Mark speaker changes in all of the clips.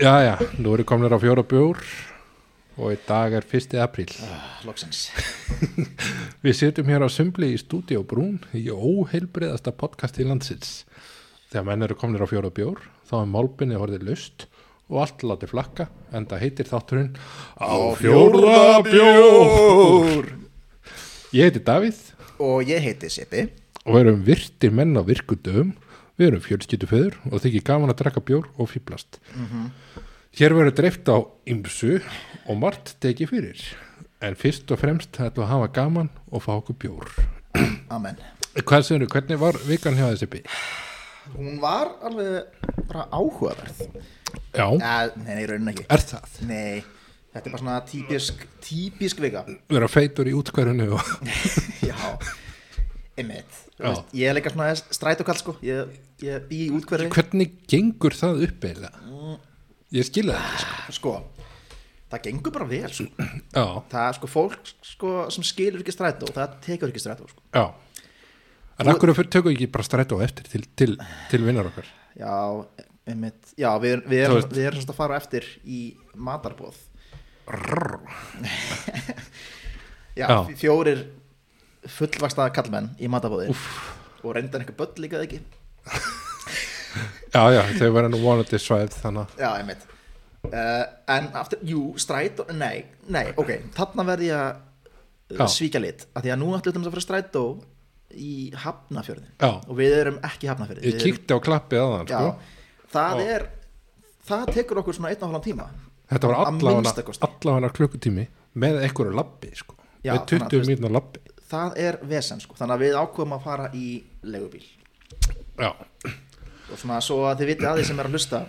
Speaker 1: Já, já, nú eru komnir á fjóra bjór og í dag er 1. apríl.
Speaker 2: Loksins
Speaker 1: Við sitjum hér á Sumbli í Stúdíó Brún í óheilbriðasta podcasti landsins. Þegar menn eru komnir á fjóra bjór, þá er málbinni horfið laust og allt látið flakka, en það heitir þátturinn Á fjóra bjór! Ég heiti Davíð
Speaker 2: Og ég heiti Sipi
Speaker 1: og við erum virtir menn á virkudöfum við erum fjölskylduföður og þykir gaman að drakka bjór og fýblast hér verður dreift á ymsu og margt tekið fyrir en fyrst og fremst ætlum við að hafa gaman og fá okkur bjór
Speaker 2: Amen
Speaker 1: Hvað segirðu, hvernig var vikan hjá þessi bí?
Speaker 2: Hún var alveg bara áhugaverð
Speaker 1: Já,
Speaker 2: ja, Nei, nei, raunin ekki
Speaker 1: er það?
Speaker 2: Nei, þetta er bara svona típisk, típisk vika
Speaker 1: Vera feitur í útkverfinu og
Speaker 2: Já, einmitt Þú
Speaker 1: Já.
Speaker 2: veist, Ég er líka svona strætókall sko Ég, ég bý í útkverfi
Speaker 1: hvernig gengur það upp eiginlega? Ég skilja það ekki, sko.
Speaker 2: Sko, það gengur bara vel sko
Speaker 1: Já,
Speaker 2: Það er sko fólk sko, sem skilur ekki strætó Það tekur ekki strætó sko
Speaker 1: já En akkur tökum við ekki bara strætó á eftir til, til, til vinnar okkar?
Speaker 2: Já, einmitt Já, við, við
Speaker 1: Þú
Speaker 2: erum,
Speaker 1: veist-
Speaker 2: við erum svona að fara á eftir í matarbóð
Speaker 1: Já.
Speaker 2: Já, já. fjórir fullvaksta kallmenn í matabóði og reyndar einhver börn líka eða ekki
Speaker 1: Já, já, þau verða nú vonandi svæð þannig
Speaker 2: Já, einmitt uh, En aftur, jú, strætó Nei, nei, ok, þarna verði ég að
Speaker 1: Já.
Speaker 2: uh, svíkja lit af því að nú ætlum við að fara strætó í Hafnafjörðin
Speaker 1: Já.
Speaker 2: og við erum ekki í Hafnafjörðin
Speaker 1: að ég kíkti á klappið aðan
Speaker 2: Já,
Speaker 1: sko.
Speaker 2: það
Speaker 1: Og-
Speaker 2: er það tekur okkur svona einn og hálfan tíma
Speaker 1: Þetta var
Speaker 2: Að
Speaker 1: allavega
Speaker 2: minnsta kosti.
Speaker 1: allavega klukkutími með einhverju labbi sko.
Speaker 2: Já,
Speaker 1: með
Speaker 2: þannig að þú
Speaker 1: 20
Speaker 2: veist-
Speaker 1: mínúna labbi
Speaker 2: það er vesen sko, þannig að við ákveðum að fara í legubíl
Speaker 1: Já,
Speaker 2: og svona svo að þið viti að þið sem er að hlusta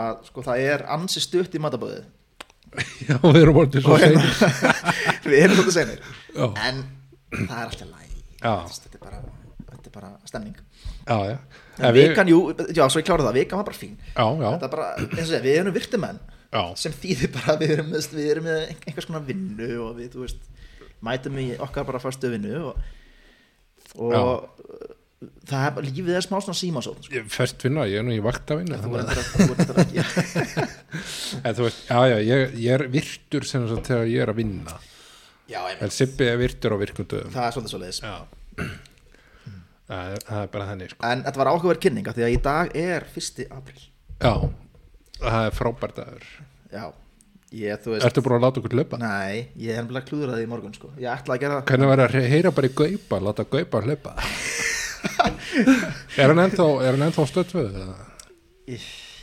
Speaker 2: að sko það er ansi stutt í matabóðið
Speaker 1: já við erum orðið svo
Speaker 2: við
Speaker 1: seint
Speaker 2: erum svolítið senir
Speaker 1: Já.
Speaker 2: en það er alltaf læg
Speaker 1: Já.
Speaker 2: þetta er bara, þetta er bara stemning
Speaker 1: Já, já
Speaker 2: en
Speaker 1: En við-
Speaker 2: vikan, jú, já, svo ég klára það, vikan var bara fín
Speaker 1: Já, já,
Speaker 2: þetta er bara, eins og segja, við erum virtumenn
Speaker 1: Já.
Speaker 2: sem þýðir bara að við erum, með- við erum með ein- einhvers konar vinnu og við, þú veist, mætum í okkar bara fyrstu vinnu og, og það er bara, lífið er smá svona símasótt sko.
Speaker 1: ég fest vinna, ég er nú í vaktavinn
Speaker 2: þú
Speaker 1: En
Speaker 2: voru þetta ekki
Speaker 1: þú veist, já, já, ég, ég er virtur sem þess að þegar ég er að vinna
Speaker 2: já, einmitt.
Speaker 1: En Sibbi er virtur á virkundöðum
Speaker 2: það er svolítið svo leiðis
Speaker 1: Já Það er, það er bara þannig sko.
Speaker 2: en þetta var áhugaverð kynning af því að í dag er 1. april
Speaker 1: Já, það er frábært aður
Speaker 2: já, ég, þú veist
Speaker 1: Ertu búin að láta okkur löpa?
Speaker 2: nei, ég er nefnilega klúðraði í morgun sko. ég ætla að gera það
Speaker 1: Hvernig var að hre- heyra bara í gaupa, láta gaupa hlaupa? er hann ennþá, er hann ennþá stöðtöð?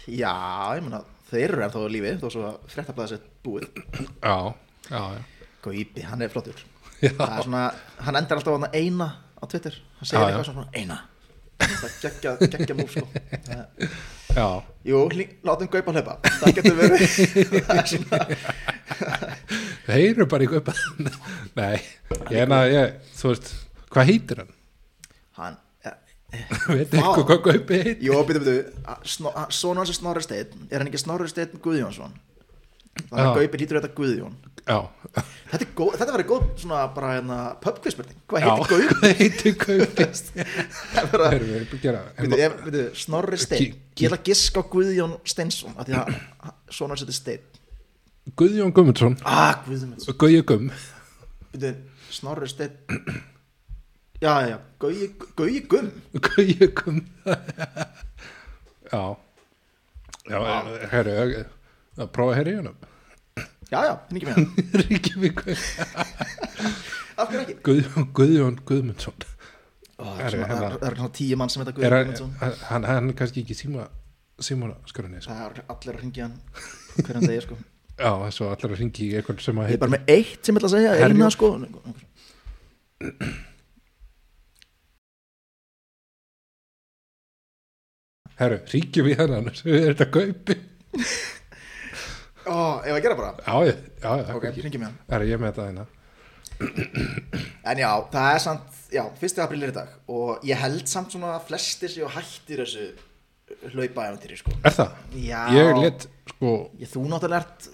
Speaker 2: já, ég meina, þeir eru ennþá á lífi þó svo að fréttablaðið sér búið
Speaker 1: Já, já, já.
Speaker 2: Gaupi, Sko, hann er flottur
Speaker 1: Já.
Speaker 2: Það er svona, hann endar alltaf á hann eina á Twitter, hann segir
Speaker 1: Já,
Speaker 2: eitthvað
Speaker 1: já.
Speaker 2: svona eina Það er geggja, geggja múf sko Það-
Speaker 1: já.
Speaker 2: Jú, hlý- látum Gaupa hlaupa Það getur verið Það er svona,
Speaker 1: Heyru bara í gaupa. Nei, ég er að, ég, þú veist, hvað heitir hann?
Speaker 2: hann ja,
Speaker 1: Veit eitthvað hvað gaupi heitir?
Speaker 2: Jú, býtum, býtum Svona hans er Snorri Steinn Er hann ekki Snorri Steinn Guðjónsson? Þannig
Speaker 1: Já.
Speaker 2: að Gaupi lítur þetta Guðjón
Speaker 1: Já.
Speaker 2: Þetta, er góð, þetta verið góð svona bara hérna pubquizspurning Hvað
Speaker 1: Já,
Speaker 2: heitir Gaupi?
Speaker 1: Hvað heitir gaupi?
Speaker 2: Það er bara-
Speaker 1: Erum við að gera?
Speaker 2: Byrju, ef, byrju, Snorri Steinn
Speaker 1: Ki-
Speaker 2: Ég ætla að giska á Guðjón Steinsson af Því að svona hans heitir Steinn
Speaker 1: Guðjón Gummundsson,
Speaker 2: Ah, Guðjón
Speaker 1: Guðjón Gumm.
Speaker 2: byrju, Snorri Steinn Já, já, já, Gauji, Gauji Gumm
Speaker 1: Guðjón Gumm. Já. Já, herru, að prófa að heyra í hennum.
Speaker 2: Já, já, henni ekki með hann
Speaker 1: Ríkjavík
Speaker 2: Af hverju ekki?
Speaker 1: Guðjón, Guðjón Guðmundsson
Speaker 2: Ó, Það
Speaker 1: Herri,
Speaker 2: er svona-
Speaker 1: hérna.
Speaker 2: það er svona tíu mann sem heita
Speaker 1: er
Speaker 2: Guðjón
Speaker 1: hann,
Speaker 2: Guðmundsson
Speaker 1: hann, hann er kannski ekki síma síma skrunni sko.
Speaker 2: Það er allir að hringja hann Hvernig degi, sko
Speaker 1: já, þess að allar að ringi í eitthvað sem að
Speaker 2: Ég er
Speaker 1: heita
Speaker 2: bara með eitt sem ég ætla að segja
Speaker 1: Herjólf.
Speaker 2: Eina, sko
Speaker 1: herru, ríkjum í hennan er þetta kaupi
Speaker 2: Ó, ef að gera bara
Speaker 1: já, já, já, já
Speaker 2: Ok,
Speaker 1: okay.
Speaker 2: hringi með hann
Speaker 1: herru, ég er með þetta hérna
Speaker 2: En já, það er samt, já, 1. apríl er í dag og ég held samt svona að flestir séu hættir þessu hlaupa eventýri, sko.
Speaker 1: er það?
Speaker 2: Já,
Speaker 1: ég let, sko,
Speaker 2: ég, þú náttúrulega ert,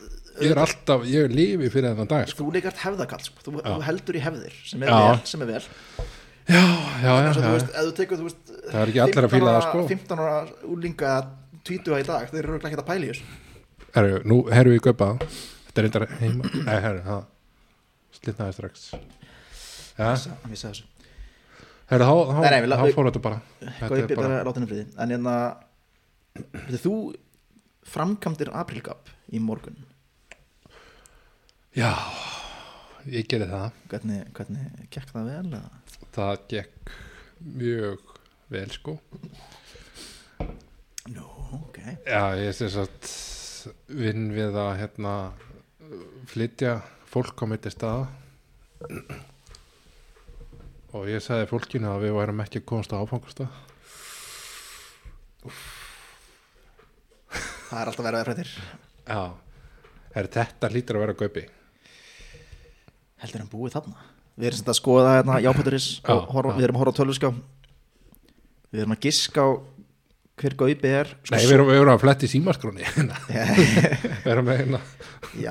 Speaker 1: ég er alltaf ég lifi fyrir þennan dag sko.
Speaker 2: þú líka ert hefðakall, sko. þú, þú heldur í hefðir sem er
Speaker 1: Já.
Speaker 2: vel, sem er vel.
Speaker 1: já, já, já,
Speaker 2: Svo, þú
Speaker 1: já,
Speaker 2: veist, ef þú tekur, þú veist,
Speaker 1: Það er ekki allir að fíla það,
Speaker 2: 15 ára-
Speaker 1: sko.
Speaker 2: 15 ára úlinga 20 í dag, þeir eru örugglega ekkert að pæla í þessu.
Speaker 1: Herru, nú herru við gaupa Þetta er reyndar heima Nei, herru, það Slitnaði strax ja,
Speaker 2: Missa- missa þessu.
Speaker 1: Herru, þá,
Speaker 2: Nei,
Speaker 1: þá,
Speaker 2: nei, við
Speaker 1: þá
Speaker 2: lá- við-
Speaker 1: fór þetta bara Þetta
Speaker 2: Gaupi
Speaker 1: er bara
Speaker 2: bara láta henni friði En hérna veitir, Þú framkamdir aprilgap í morgun
Speaker 1: Já, ég gerði það
Speaker 2: Hvernig, hvernig gekk það vel? eða?
Speaker 1: Það gekk mjög vel sko
Speaker 2: Nú, ok
Speaker 1: Já, ég sé satt vinn við að hérna flytja fólk á mitt staða og ég sagði fólkinu að við værum ekki komast á áfangasta
Speaker 2: Það er alltaf verið að fréttir
Speaker 1: Já, er þetta hlýtur að vera gaupi
Speaker 2: Heldur hann búið þarna? Við erum sem þetta að skoða hérna jápæturis
Speaker 1: Já,
Speaker 2: og
Speaker 1: já.
Speaker 2: horfa, við erum að horfa á tölvuská Við erum að giska á hver Gaupi er
Speaker 1: Nei, við erum, við erum að fletti símaskráni hérna.
Speaker 2: erum
Speaker 1: við erum með hérna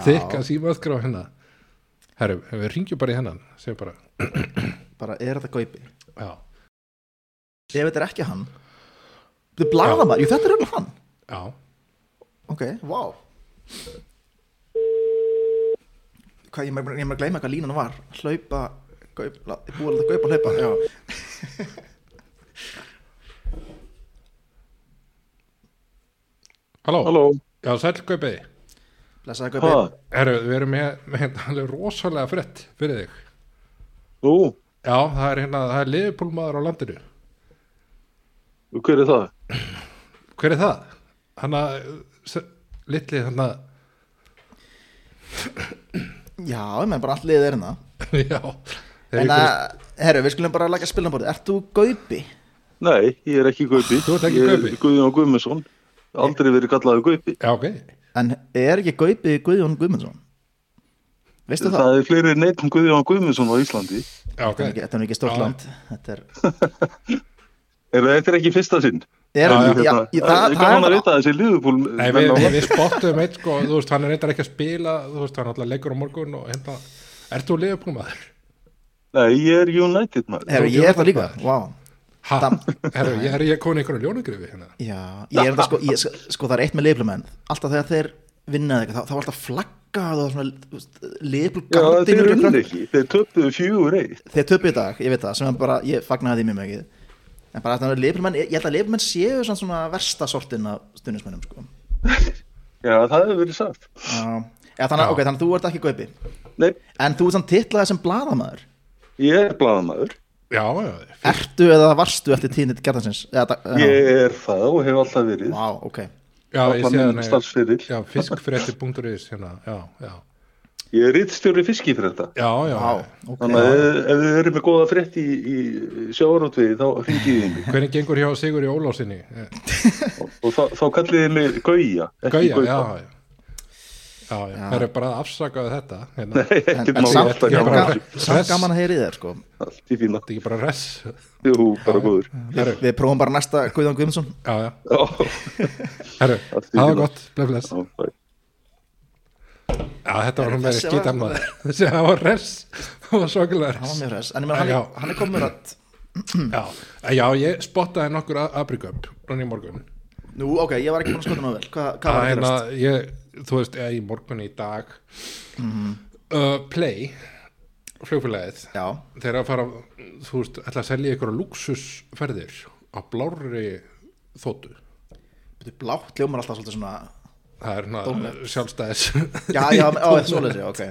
Speaker 1: þykka
Speaker 2: Já,
Speaker 1: símaskrá hérna Herru, við ringjum bara í hennan segjum bara,
Speaker 2: bara er þetta Gaupi?
Speaker 1: já,
Speaker 2: Ef þetta er ekki hann Þið blaða maður, jú þetta er alveg hann
Speaker 1: já
Speaker 2: Ok, vá wow. Hvað, ég maður að gleyma hvað línan var Hlaupa, gaup, la- búið að láta gaupa hlaupa Já
Speaker 1: Halló,
Speaker 3: Halló,
Speaker 1: já, sæll gaupi
Speaker 2: Blessaði gaupi
Speaker 3: hvað?
Speaker 1: Herru, við erum með, með hérna alveg rosalega frett fyrir þig
Speaker 3: Nú,
Speaker 1: Já, það er hérna, það er liðbólmaður á landinu
Speaker 3: hver er það?
Speaker 1: Hver er það? Hanna, s- litli hanna
Speaker 2: Já, ég menn bara allt liðið er hérna
Speaker 1: Já
Speaker 2: En
Speaker 1: en,
Speaker 2: að, herru, við skulum bara laga spilanbórið Ert þú gaupi?
Speaker 3: Nei, ég er ekki Gaupi.
Speaker 1: Þú ert ekki Gaupi?
Speaker 3: Ég er Guðjón Guðmundsson, aldrei verið kallaði Gaupi.
Speaker 1: Já, ok
Speaker 2: En er ekki gaupi Guðjón Guðmundsson? Veistu
Speaker 3: Það,
Speaker 2: það?
Speaker 3: er fleiri neitt um Guðjón Guðmundsson á Íslandi.
Speaker 1: Já, ok
Speaker 2: Þetta er ekki- Þetta er nú ekki stórt
Speaker 1: Já.
Speaker 2: land Þetta er,
Speaker 3: Er þetta er ekki fyrsta sinn?
Speaker 2: er
Speaker 1: Já,
Speaker 2: já,
Speaker 3: Hérna,
Speaker 2: ég-
Speaker 3: það
Speaker 2: það,
Speaker 3: er gaman að
Speaker 2: það er
Speaker 3: vita að þessi liðupúl.
Speaker 1: Nei, við, við, við spottum eitt sko, þú veist, hann er reyndar ekki að spila þú veist, hann alltaf leikur á morgun og hérna Ert þú liðbólmaður?
Speaker 3: Nei, ég er United maður.
Speaker 2: Herru, ég er það líka Vá
Speaker 1: Ha,
Speaker 2: Það-
Speaker 1: herru, ég er ég komin einhvern ljónugrifi hérna
Speaker 2: Já, ég er þetta sko, ég, sko það er eitt með leiflumenn Alltaf þegar þeir vinna eða eitthvað þá- Þá er alltaf flaggað og svona
Speaker 3: Já, þeir
Speaker 2: leiflugardinu
Speaker 3: eru ekki. Þeir töpuðu fjögur eitt.
Speaker 2: Þeir töpu í dag, ég veit það, sem er bara, ég fagnaði því mjög mikið En bara þetta er leiflumenn, ég ég held að leiflumenn séu svona, svona versta sortin af stundismennum sko
Speaker 3: Já, það hefur verið sagt.
Speaker 2: Já, eða þannig,
Speaker 1: Já.
Speaker 2: ok, þannig að þú ert ekki gaupi
Speaker 3: Nei,
Speaker 2: En þú ert þannig titlaði sem bladamaður
Speaker 3: ég er blaðamaður.
Speaker 1: Já, já,
Speaker 2: Ertu eða varstu eftir tíðnit gerðansins?
Speaker 3: Ég er það og hef alltaf verið.
Speaker 2: Vá, ok
Speaker 1: já ég
Speaker 3: Allan
Speaker 1: sé
Speaker 3: minn
Speaker 1: hann
Speaker 3: starfsferill.
Speaker 1: Já, fiskfrétti.is hérna, já, já
Speaker 3: Ég er rittstjóri fiskifrætta.
Speaker 1: Já, já,
Speaker 2: Vá, ok
Speaker 3: Þannig að ef, ef þið eru með góða frétt í, í sjávarútvegi þá ringið þið mig
Speaker 1: hvernig gengur hjá Eh, Sigur í Ólásinni?
Speaker 3: og, og þá, þá kallið þið mig Gauja, ekki
Speaker 1: Gauja, já,
Speaker 3: Gauja.
Speaker 1: já Já, já, það er bara afsakaði þetta hérna.
Speaker 2: En,
Speaker 3: Ekkert
Speaker 2: en
Speaker 3: mál,
Speaker 2: samt,
Speaker 3: alltaf
Speaker 1: ég
Speaker 2: gaman,
Speaker 1: bara-
Speaker 3: gaman,
Speaker 2: gaman, samt gaman að heyri þér sko
Speaker 3: allt í fína.
Speaker 1: Þetta er ekki bara res
Speaker 3: Jú, bara góður.
Speaker 1: Herru,
Speaker 2: Við prófum bara næsta Guðjón Guðmundsson
Speaker 1: já, já,
Speaker 3: Já,
Speaker 1: herru,
Speaker 3: Allt í
Speaker 1: það var
Speaker 3: fína.
Speaker 1: gott, blei bless
Speaker 3: já, bæ.
Speaker 1: Já, þetta var nú meiri
Speaker 2: Þessi var-
Speaker 1: skítan maður Þessi, það var res, það var svokilega
Speaker 2: Hann var
Speaker 1: res
Speaker 2: mjög hress En ég meina, hann,
Speaker 1: Já.
Speaker 2: er- hann er komið rætt
Speaker 1: Já, já, ég spottaði nokkur abriköp Núna í morgun
Speaker 2: Nú, ok, ég var ekki búin að skota ná vel Hva, Hvað
Speaker 1: Það
Speaker 2: var að
Speaker 1: hérna,
Speaker 2: gerast?
Speaker 1: ég, þú veist, eða í morgun í dag uh, Play Flugfélagið
Speaker 2: Já,
Speaker 1: þeir að fara, þú veist, ætla að selja ykkur luxusferðir á blárri þóttu
Speaker 2: betur blátt hljómar alltaf svolítið svona
Speaker 1: það er hérna
Speaker 2: Dómnefnd.
Speaker 1: sjálfstæðis
Speaker 2: Já, já, á, svoleiðis, já, ok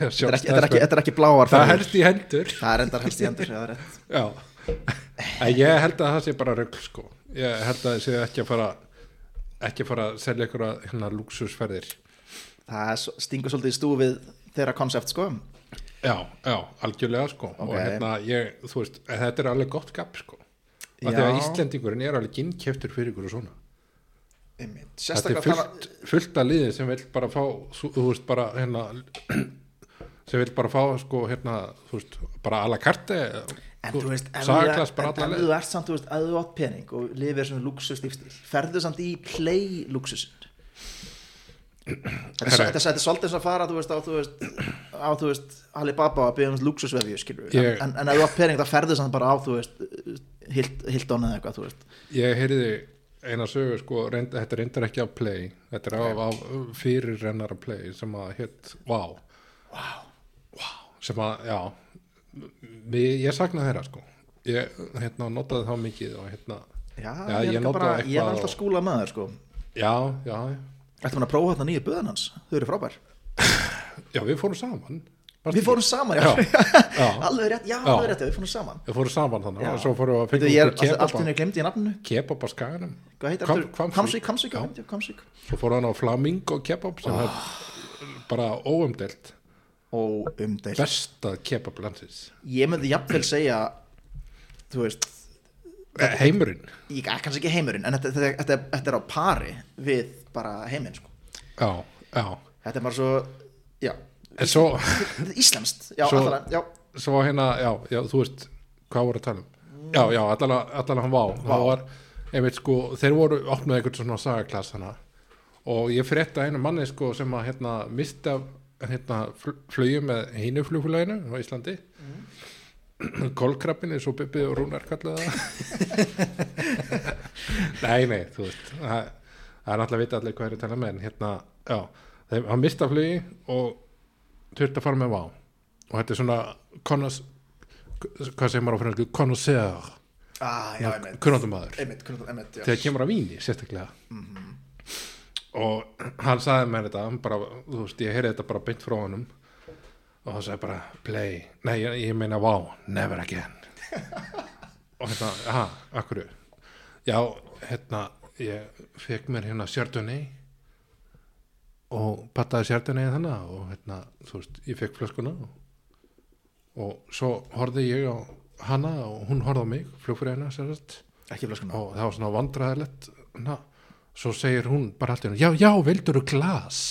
Speaker 2: Þetta er ekki, þetta er ekki,
Speaker 1: sjálfstæðis
Speaker 2: þetta er ekki bláar
Speaker 1: það
Speaker 2: ferðir.
Speaker 1: helst í hendur
Speaker 2: Það er endar helst í endur, já, það er rétt
Speaker 1: já en ég held að það sé bara rögl sko ég held að það sé ekki að fara ekki að fara að selja ykkur að, hérna luxusferðir
Speaker 2: Það er svo- stingur svolítið í stúfið þeirra konsept, sko
Speaker 1: já, já, algjörlega sko og
Speaker 2: Ok.
Speaker 1: hérna ég, þú veist, þetta er alveg gott gap sko að því
Speaker 2: Já.
Speaker 1: að Íslendingurinn er alveg innkeftur fyrir ykkur og svona
Speaker 2: Einmitt.
Speaker 1: Þetta er
Speaker 2: Sérstaklega
Speaker 1: fullt, fullt að liði sem vil bara fá þú þú veist bara hérna sem vil bara fá sko hérna þú veist bara ala karte
Speaker 2: En þú veist, ef
Speaker 1: saglas Sko, bara
Speaker 2: en-
Speaker 1: alla
Speaker 2: en
Speaker 1: leið
Speaker 2: þú ert samt, þú veist, að þú átt pening og lifir svona luxus lífstíl, ferðu samt í play luxusin Þetta er
Speaker 1: Herra.
Speaker 2: þetta er- þetta er svolítið eins að fara, þú veist, á, þú veist, á, þú veist Alibaba að byggja um luxusvefju, skilur við
Speaker 1: Ég-
Speaker 2: en, en ef þú átt pening, þá ferðu samt bara á, þú veist, Hilt- Hilton eða eitthvað, þú veist
Speaker 1: ég heyriði eina sögu sko, reynd, þetta er reyndar ekki af play þetta er af, af fyrir rennar af play sem að hétt wow. wow sem að, já mér, ég sakna þeirra sko ég hérna, notaði þá mikið og hérna,
Speaker 2: já,
Speaker 1: Já,
Speaker 2: ég,
Speaker 1: ég
Speaker 2: ég, bara,
Speaker 1: nota eitthvað
Speaker 2: ég er
Speaker 1: og-
Speaker 2: alltaf skúla maður sko
Speaker 1: já, já,
Speaker 2: Ættum hann að prófa þarna nýju böðan hans, þau eru frábær
Speaker 1: já við fórum saman Varstu
Speaker 2: Við fórum saman, já,
Speaker 1: Já, já.
Speaker 2: Alveg rétt, já,
Speaker 1: Já.
Speaker 2: alveg rétt, já, við fórum saman
Speaker 1: við fórum saman þannig
Speaker 2: Já.
Speaker 1: og svo fórum við að
Speaker 2: Veitu,
Speaker 1: fengja
Speaker 2: ég er
Speaker 1: okkur
Speaker 2: all- allt
Speaker 1: kebab
Speaker 2: henni glemdi í nafninu
Speaker 1: kebab á skaganum
Speaker 2: Hvað heitir
Speaker 1: Hvam-
Speaker 2: aftur?
Speaker 1: Hvammsvík.
Speaker 2: Kamsvík, Kamsvík,
Speaker 1: Já.
Speaker 2: já, Kamsvík
Speaker 1: svo fórum hann á flamingo kebab
Speaker 2: Ah.
Speaker 1: sem er bara óumdelt
Speaker 2: Og umdeilt
Speaker 1: besta kebab landsins
Speaker 2: Um Ég myndi jafnvel segja Þú veist,
Speaker 1: Eh, heimurinn
Speaker 2: ég eh, kannski ekki heimurinn En þetta, þetta, þetta, þetta er á pari við bara heiminn sko.
Speaker 1: já, já
Speaker 2: Þetta er bara svo, já
Speaker 1: en svo,
Speaker 2: Íslamst, já,
Speaker 1: Svo-
Speaker 2: svo... allan, já
Speaker 1: svo hérna, já, já, þú veist hvað voru að tala um já, já, allan, allan hann vá, það var einmitt sko, þeir voru opnuð einhvern svona sagaklass hana og ég frétta einu manni sko sem að hérna mista hérna fl- flugið með hínu flugfélaginu á Íslandi mm. kolkrabbin eins og Bubbi og Rúnar kallaði það nei, nei, þú veist það það er alltaf að vita allir hvað er að tala með en hérna, já, þeim, hann mista flugi og þurfti að fara með vá og þetta er svona konos, hvað segir maður á fransku connoisseur,
Speaker 2: ah, Já, einmitt,
Speaker 1: kunnáttumæður
Speaker 2: einmitt, kunnum- einmitt, já
Speaker 1: þegar kemur að víni sérstaklega og hann sagði mér þetta hann bara, þú veist, ég heyrði þetta bara beint frá honum og hann sagði bara play, nei, ég, ég meina wow never again og hérna, aha, akkur já, hérna ég fekk mér hérna sjördunni og pattaði sjördunni þannig og hérna, þú veist, ég fekk flöskuna og, og svo horfði ég á hana og hún horfði á mig, flugfræðina sérst
Speaker 2: Ekki flaskuna
Speaker 1: og það var svona vandræðilegt na, svo segir hún bara allt í hennu já, já, vildurðu glas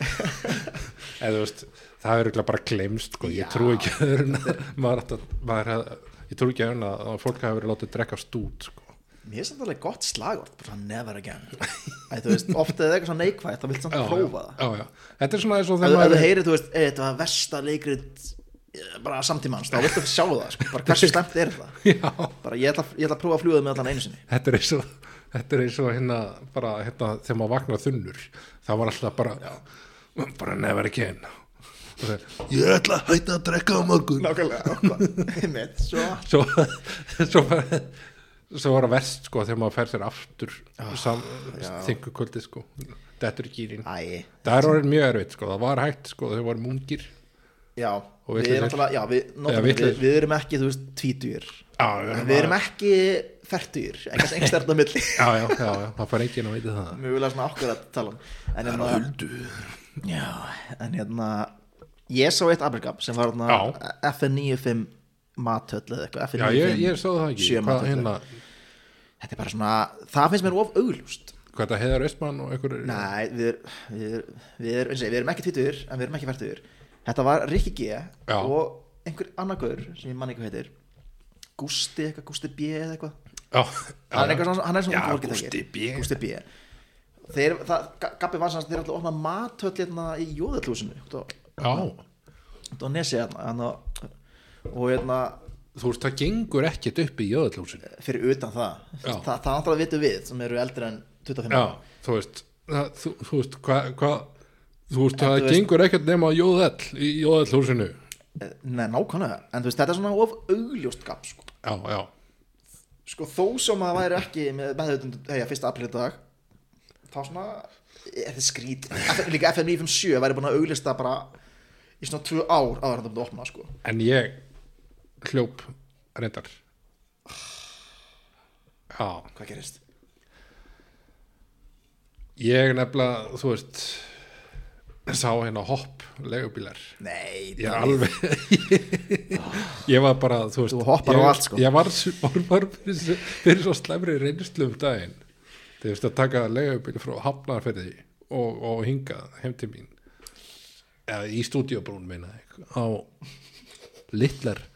Speaker 1: eða þú veist það er eiginlega bara glemst sko. ég trú ekki að öðrun að maður átti að- maður hef- ég trú ekki að öðrun að að fólk hafi verið látið að drekka stút sko.
Speaker 2: Mér er samt alveg gott slagort, bara svona never again Æ, þú veist, ofta er það eitthvað svona neikvægt þá vilt samt
Speaker 1: Já, já,
Speaker 2: prófa það
Speaker 1: já, já. þetta er svona eins og
Speaker 2: ef
Speaker 1: þegar
Speaker 2: ef þú
Speaker 1: maður
Speaker 2: heyrir, þú veist, "Ey, þetta var versta leikrit eh, bara samtímans, þá viltu sjá það sko, bara hversu stemt er það
Speaker 1: já
Speaker 2: bara ég ætla, ég ætla að prófa að fljúða með allan einu sinni
Speaker 1: þetta er eins og þetta er eins og hérna bara hérna þegar maður vaknar þunnur það var alltaf bara bara never again Og það- ég ætla að hætta að drekka á morgun
Speaker 2: nákvæmlega mitt, svo
Speaker 1: svo, svo, var, svo var að verst sko þegar maður fer sér aftur
Speaker 2: Ah,
Speaker 1: sam, þingur kvöldi sko dettur í gýrin
Speaker 2: Æ,
Speaker 1: það er orðin mjög erfitt sko það var hægt sko þegar voru mungir
Speaker 2: já, við
Speaker 1: vitlausir.
Speaker 2: erum alltaf já, við,
Speaker 1: Eða
Speaker 2: notum,
Speaker 1: vitlausir.
Speaker 2: við, við erum ekki, þú veist, tvítugir
Speaker 1: já,
Speaker 2: við erum ekki færtugir einhvers einstærna milli
Speaker 1: já, já, já, já, það fær enginn að veita það
Speaker 2: mjög vilja svona okkur að tala um en hérna já, en hérna ég sá eitt abrikab sem var hérna FN95 matöll eða eitthvað
Speaker 1: já,
Speaker 2: FN95
Speaker 1: ég, ég sáðu það ekki
Speaker 2: sjö
Speaker 1: hvað,
Speaker 2: matarlegt.
Speaker 1: hérna,
Speaker 2: þetta er bara svona, það finnst mér of auglust
Speaker 1: hvað þetta heiðar Östmann og einhverju
Speaker 2: nei, við erum við, er, við, er, við erum ekki tvítur en við erum ekki færtur þetta var Rikki G
Speaker 1: Já.
Speaker 2: og einhver annar gaur sem ég mann eitthvað heitir Gústi eitthvað, Gústi B eða eitthvað
Speaker 1: já,
Speaker 2: hann er
Speaker 1: já,
Speaker 2: eitthvað svona, hann er svona
Speaker 1: Já,
Speaker 2: ungur orkidagi.
Speaker 1: Gústi B.
Speaker 2: Gústi B þeir, það, Gabi var sanns þeir ætla að opna matöll hérna í Jóðallúsinu og
Speaker 1: já.
Speaker 2: Nesi hérna, hérna og hérna
Speaker 1: þú veist, það gengur ekkert upp í jöðallúsinu
Speaker 2: fyrir utan það
Speaker 1: Já.
Speaker 2: það, það náttúrulega vitum við sem eru eldri en 25
Speaker 1: já,
Speaker 2: ára.
Speaker 1: þú veist það, þú, þú veist, hvað hva, þú veist, það
Speaker 2: þú veist-
Speaker 1: gengur ekkert nema jöðall í jöðallúsinu já,
Speaker 2: Nei, nákvæmlega, en þú veist, þetta er svona of augljóst gap, sko,
Speaker 1: já,
Speaker 2: sko þó sem að væri ekki með meðhauðund, hei, fyrsta april í dag þá svona, er þetta skrít líka FM 957 væri búin að auglista bara í svona tvö ár áður en það búin að opna, sko
Speaker 1: en ég hljóp reyndar já,
Speaker 2: hvað gerist?
Speaker 1: ég nefnilega þú veist sá hérna hopp legubílar
Speaker 2: Nei,
Speaker 1: ég er alveg ég var bara, þú veist
Speaker 2: Þú hoppar
Speaker 1: ég,
Speaker 2: á allt, sko.
Speaker 1: ég var, s- var, var fyrir, s- fyrir svo slæmri reynslu um daginn þú veist að taka legubíl frá hafnarferði og, og hinga heim til mín eða í stúdíobrún minna á litlar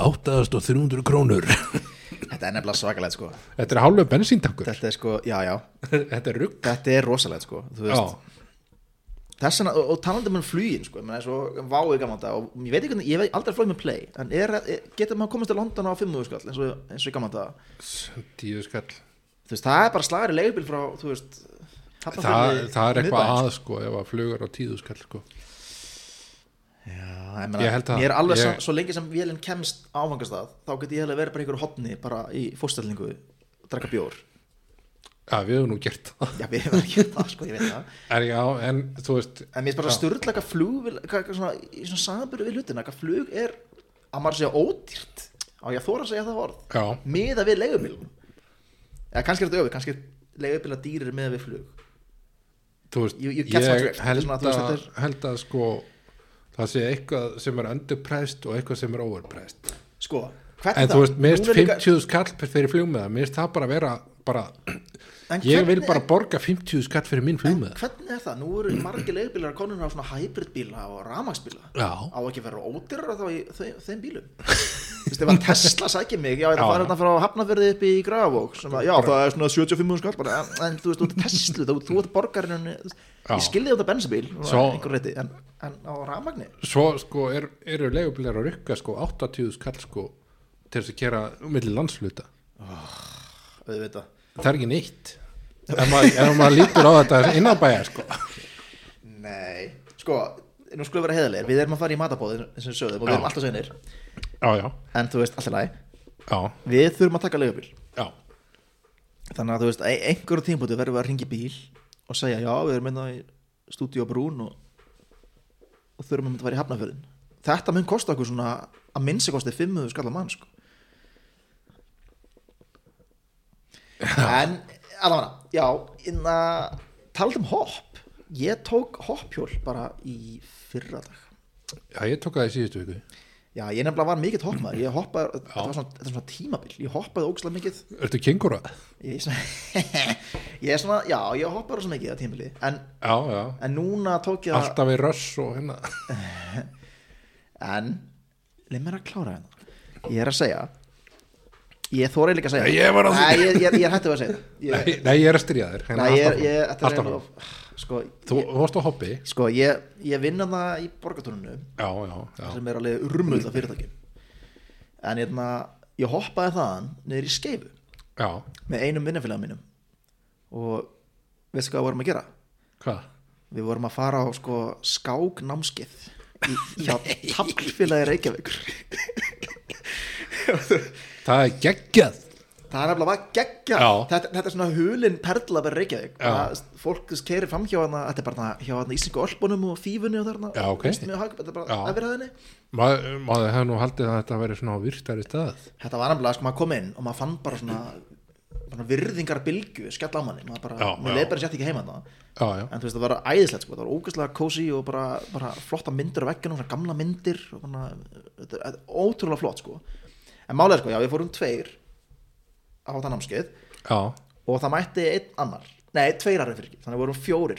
Speaker 1: 8300 krónur
Speaker 2: þetta er nefnilega svakalegt, sko
Speaker 1: þetta er hálfur bensíntankur
Speaker 2: þetta er sko, já, já,
Speaker 1: þetta er rugg
Speaker 2: þetta er rosalegt, sko þú veist, Þess vegna, og, og talandi um flugin sko, menn, svo, váið gaman þetta og ég veit ekki, hvernig- ég hef aldrei flóið með play en er, er, getur maður komist til London á 500 skall eins og, eins og gaman þetta
Speaker 1: tíu skall
Speaker 2: þú veist, það er bara slagur í leigubíl frá þú veist,
Speaker 1: það,
Speaker 2: Hafnarfirði
Speaker 1: það er eitthvað
Speaker 2: miðbæinn,
Speaker 1: að sko ef að flugur á tíu skall sko.
Speaker 2: sko. Já, ég, meina,
Speaker 1: Ég held það.
Speaker 2: ég er alveg
Speaker 1: Ég-
Speaker 2: ég... svo lengi sem vélinn kemst á áfangastað þá get ég hefði verið bara í einhverju hotni bara í fórstælningu og drakka bjór
Speaker 1: ja, við höfum nú gert það
Speaker 2: já, við hefum ekki það, sko, ég veit það
Speaker 1: er, já, en þú veist
Speaker 2: En mér er bara styrla hvað flug vil- hvað, hvað svona, í svona samanbyrju við hlutina hvað flug er að maður segja ódýrt á ég að þóra að segja það orð
Speaker 1: já,
Speaker 2: miða við leigubílum eða kannski er þetta öfið, kannski er leigubíla dýrir miða við flug
Speaker 1: þú veist,
Speaker 2: You- you
Speaker 1: ég
Speaker 2: catch my drift. Þetta er
Speaker 1: held
Speaker 2: svona, þú
Speaker 1: að,
Speaker 2: veist, þetta
Speaker 1: held að sko það sé eitthvað sem er underpriced og eitthvað sem er overpriced
Speaker 2: sko, hvernig
Speaker 1: en þú veist, mér
Speaker 2: Núna
Speaker 1: finnst
Speaker 2: er líka-
Speaker 1: 50 skall per- fyrir flugmiða, mér finnst það bara vera bara,
Speaker 2: En
Speaker 1: ég vil
Speaker 2: hvernig-
Speaker 1: bara borga 50 skall fyrir minn flugmiða
Speaker 2: hvernig er það, nú eru margir leigubílar konur á svona hybridbíla og ramagsbíla
Speaker 1: Já.
Speaker 2: á ekki að vera ódýrar þá í þeim, þeim bílum þú veist, ef að Tesla sækir mig já, ég
Speaker 1: Já.
Speaker 2: það fara hérna frá Hafnarfjörði upp í Grafavók sem að, já, það er svona 75 skall bara, en, en þú veist, þú ert Tesla, þú, þú ert borgarinn
Speaker 1: Já.
Speaker 2: ég skilði þetta bensabíl
Speaker 1: Svo-
Speaker 2: einhver reyti, en, en á ramagni
Speaker 1: svo sko er, eru leigubilar að rukka sko 80 skall sko til þess að gera milli landsluta
Speaker 2: auðvitað
Speaker 1: það er ekki neitt ef maður, ef maður lítur á þetta innabæja sko
Speaker 2: Nei, sko, nú skulum við vera heðalegir Við erum að fara í matabóðin sem við sögðum og við
Speaker 1: Já.
Speaker 2: erum alltaf seinir
Speaker 1: já, já,
Speaker 2: En þú veist, alltaf læg
Speaker 1: já,
Speaker 2: Við þurfum að taka leigubíl
Speaker 1: já,
Speaker 2: Þannig að þú veist, ein- einhverjum tímpúti verðum við að ringi bíl og segja, já, við erum einna í stúdíu á Brún og, og þurfum að fara í hafnafjörðin Þetta mun kosta okkur svona að minnsi kosti 500 skallar mann, sko En, allavega, já inna, talað um hopp Ég tók hoppjól bara í fyrradag
Speaker 1: já, ég tók það í síðustu viku
Speaker 2: Já, ég nefnilega var mikill hoppmaður, ég hoppaði, þetta var svona, þetta var svona tímabil, ég hoppaði ógislega mikið,
Speaker 1: Ertu kengúra?
Speaker 2: ég, svona, ég er svona, já, ég hoppaði rosa mikið það tímabili, en,
Speaker 1: Já, já,
Speaker 2: en núna tók ég að,
Speaker 1: alltaf í röss og hérna
Speaker 2: en, leið mér að klára hérna, ég er að segja, ég þóra líka að segja,
Speaker 1: Nei, ég var að því.
Speaker 2: Nei, ég, ég, ég er hættið að segja, það. ég,
Speaker 1: Nei, nei, ég er að styrja þér hérna,
Speaker 2: nei, ég,
Speaker 1: alltaf
Speaker 2: er- ég,
Speaker 1: fram.
Speaker 2: þetta er
Speaker 1: Alltaf
Speaker 2: einu,
Speaker 1: fram.
Speaker 2: sko,
Speaker 1: Þú þú varst á hoppi Já,
Speaker 2: sko, ég, ég vinna það í borgartúrinu,
Speaker 1: já, já
Speaker 2: sem er alveg urmuð af fyrirtækjum, en hérna, ég hoppaði þaðan niður í skeifu,
Speaker 1: Já,
Speaker 2: með einum vinnafélag mínum og veistu hvað við vorum að gera?
Speaker 1: hvað?
Speaker 2: Við vorum að fara á sko skáknámskið í, hjá tablfélagi Reykjavíkur
Speaker 1: Það er geggjað
Speaker 2: Það er nefnilega að gegja
Speaker 1: Já.
Speaker 2: þetta, þetta er svona hulin perla verið Reykjavík
Speaker 1: Já.
Speaker 2: Það- fólk keirir fram hjá hana þetta er bara hana, hjá hana íslensku ölpunum og fífunni og þarna
Speaker 1: Já, ok.
Speaker 2: mjög, hag- þetta er bara
Speaker 1: Já.
Speaker 2: efirhæðinni
Speaker 1: Maður, maður hefði nú haldið að þetta veri svona á virtari stað
Speaker 2: Þetta var nefnilega sko maður kom inn og maður fann bara svona, svona virðingar bylgu skall á manni maður bara,
Speaker 1: Já,
Speaker 2: maður
Speaker 1: já.
Speaker 2: leið bara sér ekki heima þarna
Speaker 1: Já, já,
Speaker 2: en þú veist það var æðislegt sko, það var ógeðslega kósi og bara, bara flotta myndir á vegginu, svona gamla myndir og svona, þetta er- þetta er ótrúlega flott sko en málega sko, já við fórum tveir á það námskeið
Speaker 1: já,
Speaker 2: og það mætti einn annar, nei tveir aðra fyrir ekki þannig vorum fjórir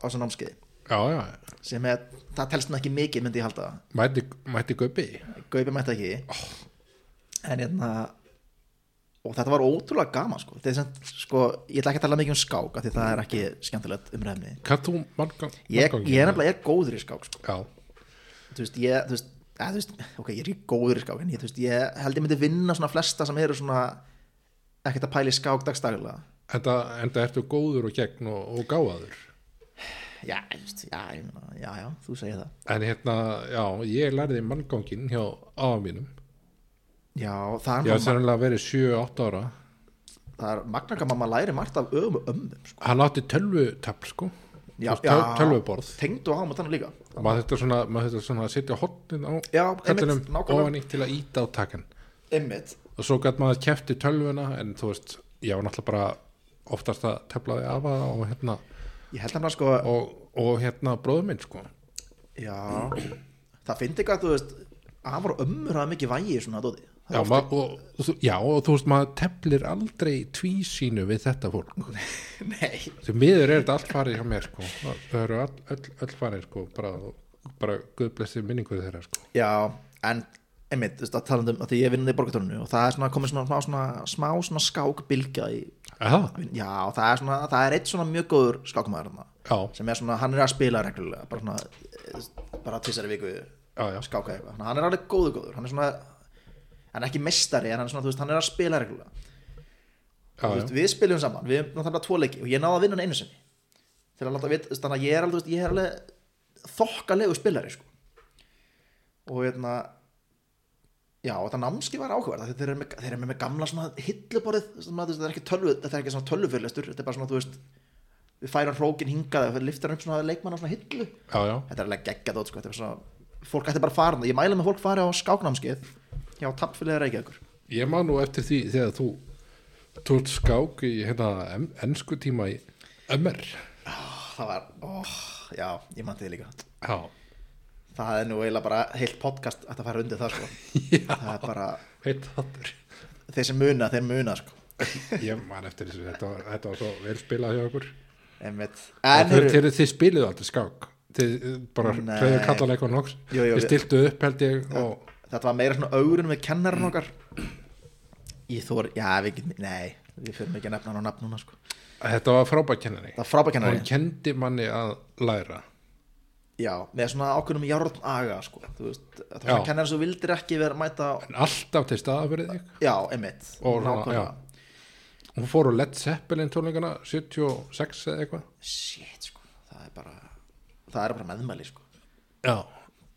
Speaker 2: á þessu námskeiði
Speaker 1: já, já
Speaker 2: sem er, það telst nú ekki mikið myndi ég halda
Speaker 1: Mætti, mætti guppi
Speaker 2: Gaupi mætti ekki en hérna og þetta var ótrúlega gaman sko, Þetta er sem, sko ég ætla ekki að tala mikið um skák af því það er ekki skemmtilegt umræðni
Speaker 1: Hvað þú margang?
Speaker 2: ég, ég er nefnilega ég er góður í skák sko.
Speaker 1: Já,
Speaker 2: þú veist, ég, þú veist, að, þú veist ok, ég er ekki góður í skák en ég, þú veist, ég held ég myndi vinna svona flesta sem eru svona ekkert að pæli skák dagstaglega
Speaker 1: enda, enda ertu góður og gegn og, og gáður
Speaker 2: já, þú veist, já, ég meina, já, já, þú segir það
Speaker 1: En hérna, já, ég lærði manngangin hjá aða mínum
Speaker 2: já, það
Speaker 1: Ég
Speaker 2: er,
Speaker 1: hef
Speaker 2: mamma,
Speaker 1: sennilega verið 7-8 ára
Speaker 2: það er magna hvað mamma læri margt af öfum og ömmum sko.
Speaker 1: Hann átti tölvutafl, sko
Speaker 2: já,
Speaker 1: Töl, Tölvuborð
Speaker 2: tengdu á hann og þannig líka
Speaker 1: maður þetta svona, maður þetta svona að setja hotnin á
Speaker 2: Já,
Speaker 1: kallinum
Speaker 2: einmitt, nákvæmlega.
Speaker 1: ofan í til að íta á takan
Speaker 2: einmitt,
Speaker 1: og svo gætt maður kæfti tölvuna en þú veist, ég var náttúrulega bara oftast að teflaði af að og hérna
Speaker 2: ég held hann að sko
Speaker 1: og, og hérna bróður minn sko
Speaker 2: já, það fyndi ekki að þú veist að hann var ömmur að mikið vægi í svona dóti
Speaker 1: já, mað, og, og, þú- já, og þú veist, maður teflir aldrei tvísínu við þetta fólk
Speaker 2: nei,
Speaker 1: því miður er þetta allt farið hjá mér sko það eru all, all, all farið sko bara, bara guðblessi minningu þeirra sko
Speaker 2: Já, en einmitt, þú veist, að tala um að því ég vinnandi í borgartörnunu og það er svona komið svona, svona, svona smá svona skákbylgja í,
Speaker 1: Aha,
Speaker 2: já, og það er svona það er eitt svona mjög góður skákmaður þarna
Speaker 1: Já,
Speaker 2: sem er svona, hann er að spila reglulega bara svona, eh, bara tísari viku
Speaker 1: Já, já.
Speaker 2: skáka eitthvað, Þannig að hann er alveg góðu góður hann er svona, hann er ekki mestari en hann er svona, þú veist, hann er að spila reglulega
Speaker 1: já,
Speaker 2: Þú
Speaker 1: já,
Speaker 2: veist, við spilum saman, við náttúrulega tvo leiki og ég náði að vinna hann einu sinni til að láta vita, þú veist, þannig að ég er alveg, þú veist, ég er alveg þokkalegu spilari sko. og hérna já, og þetta námski var áhugverð þeir eru með, þeir eru með gamla svona hilluborðið, svona, þú veist, þetta er ekki tölvu þetta er ekki svona tölvufyrirlestur, þetta er bara svona, þú veist við færum hrókin hingað og liftar upp svona leikmann á svona hillu
Speaker 1: já, já.
Speaker 2: þetta er alveg geggjað át, sko, þetta er svona fólk ætti bara að fara, þarna. ég mæla með að fólk fari á skáknámskeið hjá tappfélagið Reykjavíkur
Speaker 1: Ég man nú eftir því þegar þú tólt skák í hérna en- ensku tíma í MR
Speaker 2: það var, óh, já, ég mann þig líka
Speaker 1: Já,
Speaker 2: það er nú eiginlega bara heilt podcast að það fara undir það sko það er bara,
Speaker 1: heit þáttur
Speaker 2: þeir sem muna, þeir muna sko
Speaker 1: Ég man eftir þessu, þetta var, þetta var svo vel spilað hjá okkur
Speaker 2: einmitt,
Speaker 1: En
Speaker 2: en
Speaker 1: þeir,
Speaker 2: heyrðu-
Speaker 1: þeir, þeir spiluðu aldrei skák Þið eh, bara
Speaker 2: Nei.
Speaker 1: hreyðu kallar eitthvað noks
Speaker 2: Jú, jú,
Speaker 1: Þeir
Speaker 2: við-
Speaker 1: stiltu upp held ég og
Speaker 2: þetta var meira svona augrun við kennarinn okkar ég þor, já, við getum, nei við fyrir ekki að nefna hann á nafn núna sko
Speaker 1: þetta var frábækennari
Speaker 2: það var frábækennari,
Speaker 1: Hann kendi manni að læra
Speaker 2: já, með svona ákveðnum járn aga sko, þú veist, það var svona
Speaker 1: Já.
Speaker 2: kennarinn sem þú vildir ekki vera að mæta,
Speaker 1: En alltaf til staða fyrir þig
Speaker 2: já, einmitt
Speaker 1: Og svona,
Speaker 2: nákvæmlega.
Speaker 1: já. Hún fór á Led Zeppelin tónleikana 76 eða eitthvað
Speaker 2: shit sko, það er bara það er bara meðmæli sko
Speaker 1: Já,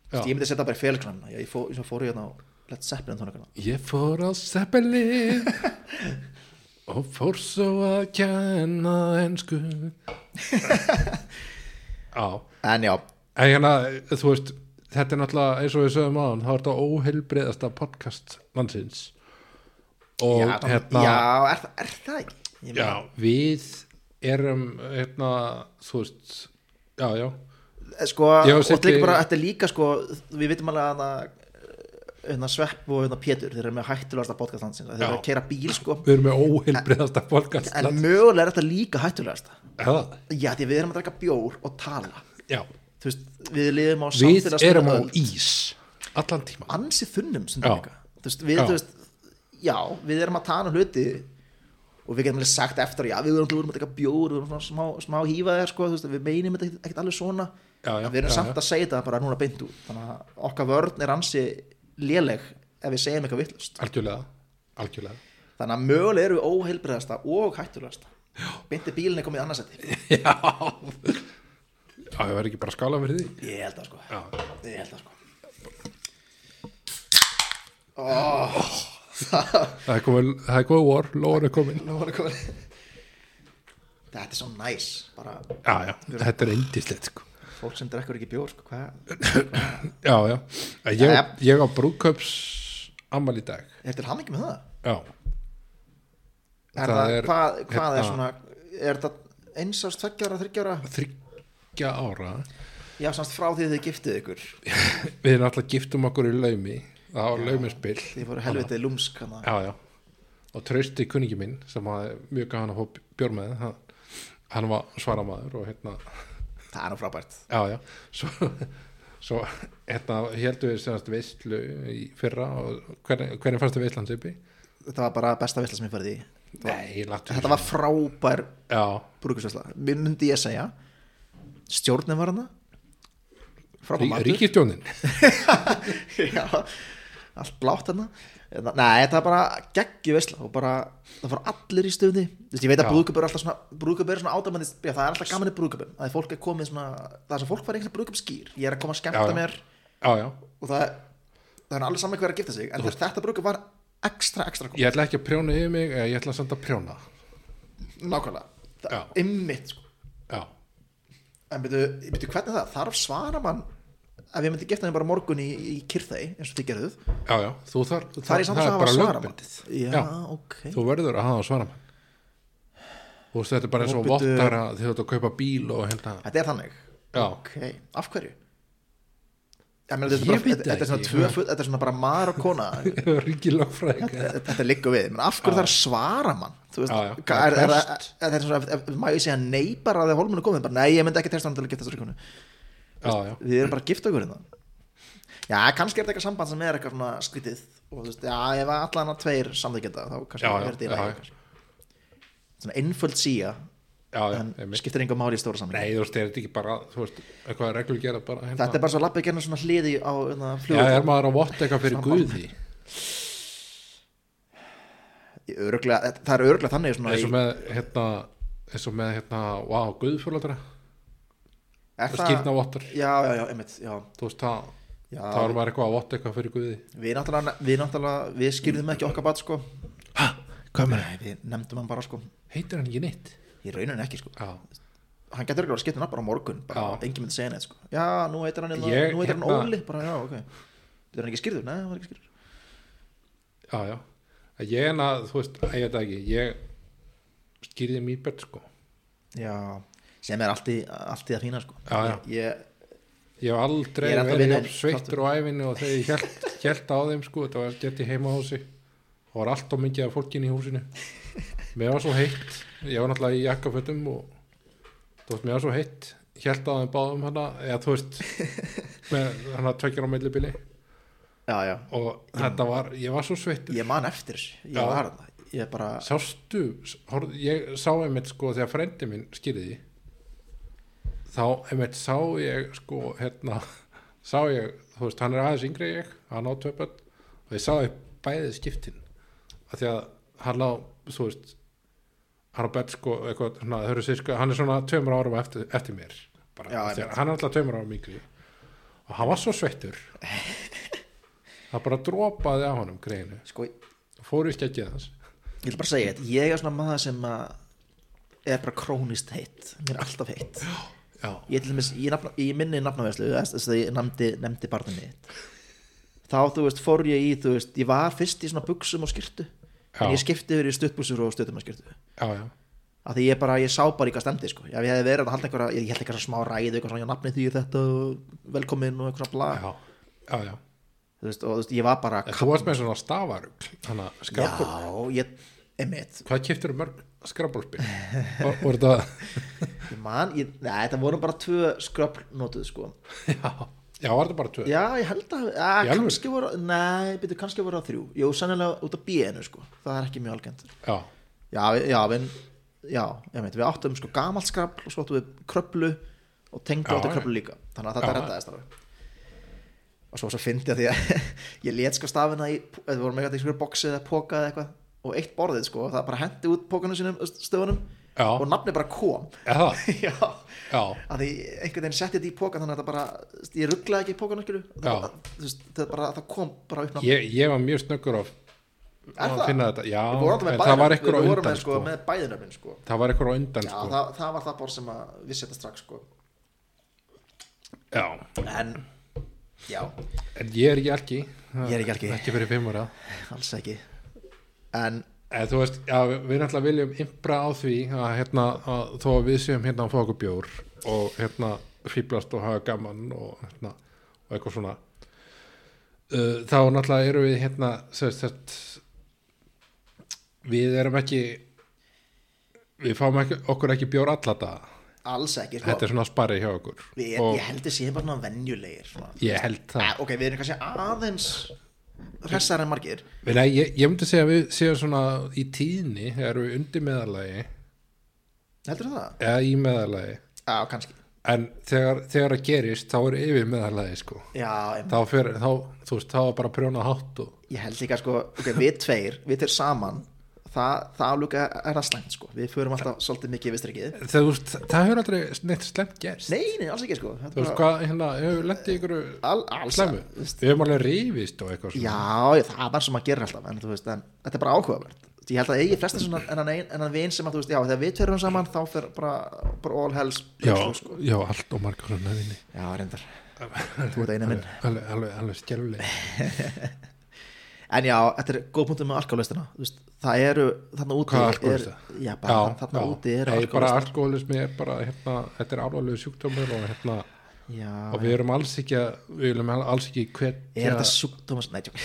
Speaker 2: Þú
Speaker 1: já.
Speaker 2: veist, ég myndi að setja bara í félagsgranna ég, fó, ég fór hérna á Led Zeppelin tónleikana
Speaker 1: Ég fór á seppelin og fór svo að kenna ensku Já,
Speaker 2: en já,
Speaker 1: en hérna þú veist, þetta er náttúrulega eins og við sögum aðan, það er þetta óheilbreiðasta podcast landsins og
Speaker 2: já, það-
Speaker 1: hérna
Speaker 2: já er, það- er það ekki Ég meina,
Speaker 1: já, við erum hérna, þú veist já, já,
Speaker 2: sko,
Speaker 1: Já,
Speaker 2: og
Speaker 1: Siggi-
Speaker 2: þetta er líka bara, þetta er líka sko, við vitum alveg að hana, hérna Svepp og hérna Pétur þeir eru með hættulegasta podcast landsins þeir eru
Speaker 1: Já.
Speaker 2: að keira bíl sko
Speaker 1: við erum með óheilbreiðasta podcast
Speaker 2: en
Speaker 1: landsins
Speaker 2: mögulega er þetta líka hættulegasta
Speaker 1: Já,
Speaker 2: já, því við erum að drekka bjór og tala
Speaker 1: já,
Speaker 2: þú veist, við lifum á
Speaker 1: við
Speaker 2: samfélagslega
Speaker 1: erum á
Speaker 2: öld.
Speaker 1: ís allan tíma
Speaker 2: ansi þunnum
Speaker 1: Já.
Speaker 2: stundum líka þú veist, við,
Speaker 1: Já.
Speaker 2: þú veist, já, við erum að tana hluti og við getum alveg sagt eftir já, við erum alltaf að taka bjór við erum svona smá, smá hífaðir sko, þú veist, við meinum þetta ekkert- ekkert alveg svona
Speaker 1: Já, já,
Speaker 2: En við erum
Speaker 1: já,
Speaker 2: samt
Speaker 1: já.
Speaker 2: að segja þetta bara núna beint út þannig að okkar vörn er ansi léleg ef við segjum eitthvað vittlust
Speaker 1: algjörlega, algjörlega
Speaker 2: þannig að mögulega eru við óheilbriðasta og hættulegasta beinti bílinni komið annarsætti
Speaker 1: Já Já, það verður ekki bara skála fyrir því
Speaker 2: ég held það sko
Speaker 1: Já,
Speaker 2: ég held það sko oh, það
Speaker 1: það er komið, það er komið vor, lóður er komin
Speaker 2: Nú var það komin Þetta er svo næs bara,
Speaker 1: Já, já, þetta er indislegt sko
Speaker 2: Fólk sem drekkur ekki bjór sko, hvað
Speaker 1: Já, já, ég,
Speaker 2: Jæja.
Speaker 1: ég á brúköps ammal í dag
Speaker 2: Er til hamingi með það?
Speaker 1: Já, Það
Speaker 2: Er það
Speaker 1: er-
Speaker 2: hvað, hvað
Speaker 1: hérna-
Speaker 2: er svona Er þetta eins árs, tveggjara, þryggjara
Speaker 1: þryggja ára
Speaker 2: Já, samt frá því þið giftið ykkur
Speaker 1: Við erum alltaf giftum okkur í laumi Það var laumispill
Speaker 2: Þið voru helvitið lúmsk hana.
Speaker 1: Já, já Og trausti kuningi minn sem var mjög gaman að fá bjór með hann, hann var svaramaður og hérna
Speaker 2: Það er nú frábært
Speaker 1: já, já svo, svo hérna heldum við semast veistlu í fyrra og hvernig, hvernig fannst þið veistlan uppi?
Speaker 2: Þetta var bara besta vissla sem ég farið í
Speaker 1: Nei, láttu
Speaker 2: Þetta var frábær
Speaker 1: Já,
Speaker 2: brúkusvissla Mér myndi ég segja Stjórnin var hana Frábær matur.
Speaker 1: ríkistjónin
Speaker 2: já, allt blátt hérna Hérna, nei, þetta er bara geggju veisla og bara, það fór allir í stöðni Vist, ég veit að
Speaker 1: Já.
Speaker 2: brúðköp er alltaf svona brúðköp er svona átamandi, já, það er alltaf gaman í brúðköpum það er fólk er komið svona, það er sem fólk var einhvern brúðköp skýr, ég er að koma að skemmta
Speaker 1: Já, já.
Speaker 2: mér
Speaker 1: Já, já,
Speaker 2: og það, það er allir saman hver að gifta sig en Þú. þetta brúðköp var ekstra, ekstra kom
Speaker 1: ég ætla ekki að prjóna yfir mig eh, ég ætla samt að prjóna
Speaker 2: nákvæmlega, það
Speaker 1: Já.
Speaker 2: er ymmit sko.
Speaker 1: Já,
Speaker 2: en byrju, byrju, hvernig er það, þarf svara mann ef ég myndi gifta mig bara á morgun í, í kyrþei eins og þið gerðuð,
Speaker 1: já, já, þú þar
Speaker 2: það er ég samt
Speaker 1: það
Speaker 2: að hafa svara
Speaker 1: lögbundið.
Speaker 2: já,
Speaker 1: Já.
Speaker 2: ok
Speaker 1: Þú verður að hafa svaramann Þú veist, þetta er bara eins og
Speaker 2: Opinber-
Speaker 1: vottar að þið þetta að kaupa bíl og hérna
Speaker 2: Þetta er þannig
Speaker 1: Já.
Speaker 2: Ok, af hverju? Ég meina, þetta,
Speaker 1: Ég
Speaker 2: er bara,
Speaker 1: veit
Speaker 2: þetta, þetta er
Speaker 1: það
Speaker 2: svona
Speaker 1: ekki.
Speaker 2: tvö föt, þetta er svona bara maður og kona Þetta-
Speaker 1: Ríkilögfræðing
Speaker 2: Þetta liggur við, menn af hverju þarf að svara mann Þú veist,
Speaker 1: Já, já.
Speaker 2: hvað er, er, er,
Speaker 1: Best.
Speaker 2: er, er svona, ef, ef maður segja nei bara að það hólmunni komið, bara nei, ég myndi ekki testa hann til að gifta þessari konu
Speaker 1: Já, já,
Speaker 2: Við erum bara að gifta okkur hérna Já, kannski er þetta eitthvað samband sem er eitthvað svona skrítið og þú veist, já, ef allan að tveir samþykja þetta þá kannski
Speaker 1: Já, já,
Speaker 2: er þetta í
Speaker 1: já,
Speaker 2: lagi
Speaker 1: já.
Speaker 2: kannski. Svona einföld síja
Speaker 1: já, já,
Speaker 2: en
Speaker 1: einmitt.
Speaker 2: skiptir enga máli í stóra samling
Speaker 1: Nei, þú veist, er þetta ekki bara, þú veist, eitthvað reglur gera bara hérna.
Speaker 2: þetta er bara svo að lappa gerna svona hliði á hérna,
Speaker 1: Já,
Speaker 2: fljóð
Speaker 1: er maður að votta eitthvað fyrir
Speaker 2: Samband.
Speaker 1: Guði
Speaker 2: öruglega, það er öruglega þannig svona,
Speaker 1: eins og
Speaker 2: í-
Speaker 1: með, hérna, eins og með, hérna, wow, Guðfjörlatra,
Speaker 2: er
Speaker 1: skýrna vottar,
Speaker 2: já, já, já, einmitt já,
Speaker 1: þú veist, það,
Speaker 2: já,
Speaker 1: þá er maður eitthvað að votta eitthvað fyrir Guði.
Speaker 2: við náttúrulega, við náttúrulega við skýrðum ekki okkar bat sko
Speaker 1: Hæ, hvað með það?
Speaker 2: Nei, við nefndum hann bara sko
Speaker 1: Heitir hann ekki neitt?
Speaker 2: í rauninni ekki sko
Speaker 1: Já,
Speaker 2: hann getur ekki að skipta hann bara á morgun bara,
Speaker 1: Já.
Speaker 2: engin myndi segja neitt sko já, nú heitir hann, hérna-
Speaker 1: Ég,
Speaker 2: nú heitir hann
Speaker 1: hérna-
Speaker 2: Óli bara, já, ok er hann ekki skýrður? Nei, hann var ekki skýrður
Speaker 1: já, já. Að Ég en að, þú veist, að ég veit það ekki, ég skýrði mér börn, sko.
Speaker 2: já, sem er allt í, allt í að fína sko
Speaker 1: Já, já.
Speaker 2: Ég,
Speaker 1: Ég hef aldrei
Speaker 2: Ég er alltaf
Speaker 1: verið
Speaker 2: vinur-
Speaker 1: jafn sveittur á æfinni og þegar ég held, held á þeim sko, þetta var gert í heimahúsi og var allt og mikið af fólkinni í húsinu mér var svo heitt ég var náttúrulega í jakkafötum og þú veist, mér var svo heitt held á þeim báðum hana, eða þú veist með hana tvekjar á meilubili
Speaker 2: já, já,
Speaker 1: og þetta var, ég var svo sveittur
Speaker 2: ég man eftir þessu. ég
Speaker 1: Já.
Speaker 2: var hann ég bara,
Speaker 1: sástu, horf, ég sá einmitt sko þegar frendi minn skýrði því þá einmitt sá ég sko hérna sá ég, þú veist, hann er aðeins yngri en ég hann á tvö börn og ég sá ég bæðið skiptin af því að hann á, þú veist hann á bett sko eitthvað, svona, þau eru sirka, hann er svona tveimur árum eftir, eftir mér bara,
Speaker 2: Já,
Speaker 1: af því að hann er alltaf tveimur árum yngri og hann var svo sveittur það bara dropaði af honum greinu,
Speaker 2: sko, ég
Speaker 1: fór í skeggið hans
Speaker 2: ég vil bara segja þetta ég er svona maður sem að er bara krónist heitt, mér er alltaf heitt
Speaker 1: já,
Speaker 2: ég, til dæmis, ég, nafna, ég minni nafnaverslu þess þess að ég nefndi, nefndi barnið mitt þá þú veist fór ég í þú veist, ég var fyrst í svona buksum og skirtu en
Speaker 1: Já.
Speaker 2: ég skipti yfir í stuttbúsur og stuttumaskirtu
Speaker 1: já, já
Speaker 2: af því ég bara, ég sá bara í hvað stemdi sko. ef ég hefði verið að halda einhverja, ég held einhverja smá ræðu eitthvað svona, já nafni því er þetta og velkomin og eitthvað svona bla
Speaker 1: já, já, já.
Speaker 2: þú veist, og þú veist, ég var bara
Speaker 1: En Þú varst með svona stafarugl þannig að skrapur,
Speaker 2: já, ég, emitt
Speaker 1: hvað kiptur mörg skrapulspil og voru þetta
Speaker 2: ég man, ég, neða, þetta voru bara tvö skröpl notuð sko
Speaker 1: já, já, var þetta bara tvö
Speaker 2: Já, ég held að,
Speaker 1: Í
Speaker 2: að
Speaker 1: alvöru?
Speaker 2: kannski voru, nei, byrju, kannski voru á þrjú Jú, sennilega út af bíinu, sko Það er ekki mjög algjönd
Speaker 1: já,
Speaker 2: Já, við- já, við, já, ég veit, við áttum sko gamalt skrafl og svo áttum við kröplu og tengdu
Speaker 1: Já,
Speaker 2: áttum
Speaker 1: já.
Speaker 2: kröplu líka Þannig að
Speaker 1: Já,
Speaker 2: þetta
Speaker 1: já.
Speaker 2: reddaðist alveg Og svo svo fyndi að því að ég let sko stafina í, eða vorum eitthvað í einhverju boxi eða póka eða eitthvað og eitt borðið sko, það bara hendi út pókanum sínum stöfunum
Speaker 1: Já.
Speaker 2: og nafni bara kom
Speaker 1: eða,
Speaker 2: Já
Speaker 1: já,
Speaker 2: að því einhvern veginn setti þetta í pókan þannig að það bara, ég rugglaði ekki í pókan skilju, það,
Speaker 1: Já.
Speaker 2: þú veist, það, bara, það kom bara upp náttúrulega,
Speaker 1: ég, ég var mjög snöggur á
Speaker 2: Er
Speaker 1: að
Speaker 2: það?
Speaker 1: finna þetta, já,
Speaker 2: við vorum alltaf
Speaker 1: en það
Speaker 2: með
Speaker 1: var
Speaker 2: bæðinöfn
Speaker 1: ekkur á
Speaker 2: við vorum
Speaker 1: undan
Speaker 2: með, sko,
Speaker 1: sko,
Speaker 2: með bæðinöfnin sko.
Speaker 1: það var ekkur á undan
Speaker 2: já,
Speaker 1: sko,
Speaker 2: það, það var það bór sem að við setja strax sko.
Speaker 1: já,
Speaker 2: en, já,
Speaker 1: en ég er ekki alki
Speaker 2: Ég er ekki alki.
Speaker 1: ekki fyrir fimm ára
Speaker 2: alls ekki
Speaker 1: En
Speaker 2: en,
Speaker 1: Eh, þú veist, já, við náttúrulega viljum impra á því að, hérna, að þó að við séum hérna að fá okkur bjór og hérna fýblast og hafa gaman og, hérna, og eitthvað svona uh, þá náttúrulega erum við hérna sérst, sérst, við erum ekki við fáum ekki, okkur ekki bjór allata
Speaker 2: alls ekki sko.
Speaker 1: þetta er svona sparið hjá okkur
Speaker 2: við,
Speaker 1: og
Speaker 2: ég held að séum bara svona venjulegir svona.
Speaker 1: ég held það
Speaker 2: Eh, ok, við erum kannski aðeins hressar en margir
Speaker 1: Við, nei, ég, ég myndi segja að við séum svona í tíðni erum við undir meðalagi
Speaker 2: heldur það?
Speaker 1: eða í meðalagi
Speaker 2: já, kannski
Speaker 1: en þegar, þegar það gerist þá er yfir meðalagi sko
Speaker 2: já, em,
Speaker 1: þá fyrir, þá, þú veist, þá er bara að prjóna hátt og
Speaker 2: ég held líka sko, okay, við tveir við tveir saman það, það líka er það slæmt sko við förum alltaf svolítið mikið við strekkið
Speaker 1: það, þú veist, það hefur aldrei neitt slemt gerst
Speaker 2: nei, nei, alls ekki sko Þetta
Speaker 1: þú veist
Speaker 2: bara-
Speaker 1: hvað, hérna, hefur lendið ykkur
Speaker 2: Al, alls
Speaker 1: slæmu, við hefum alveg rífist og eitthvað svona,
Speaker 2: já, ég- það var sem maður gerir alltaf en, þú veist, en þetta er bara áhugavert ég held að eigi flestir svona en hann, ein, en hann vin sem að þú veist já, þegar við tveir erum saman þá fer bara, bara all hells
Speaker 1: já,
Speaker 2: sko.
Speaker 1: já, allt og margar hann að vinni,
Speaker 2: já, reyndar þú ert einu minn
Speaker 1: alveg, alveg, alveg skjálfleg
Speaker 2: en já, þetta er góð punktum með alkoholistina þú veist, það eru þarna úti
Speaker 1: hvað
Speaker 2: er,
Speaker 1: alkoholista?
Speaker 2: já, bara, þarna úti er
Speaker 1: Nei, bara alkoholismi er bara, hérna, þetta er alvarlegu sjúkdómur og hérna,
Speaker 2: já,
Speaker 1: og við erum alls ekki að, við viljum alls ekki hvet,
Speaker 2: er þetta sjúkdómas nei, tjók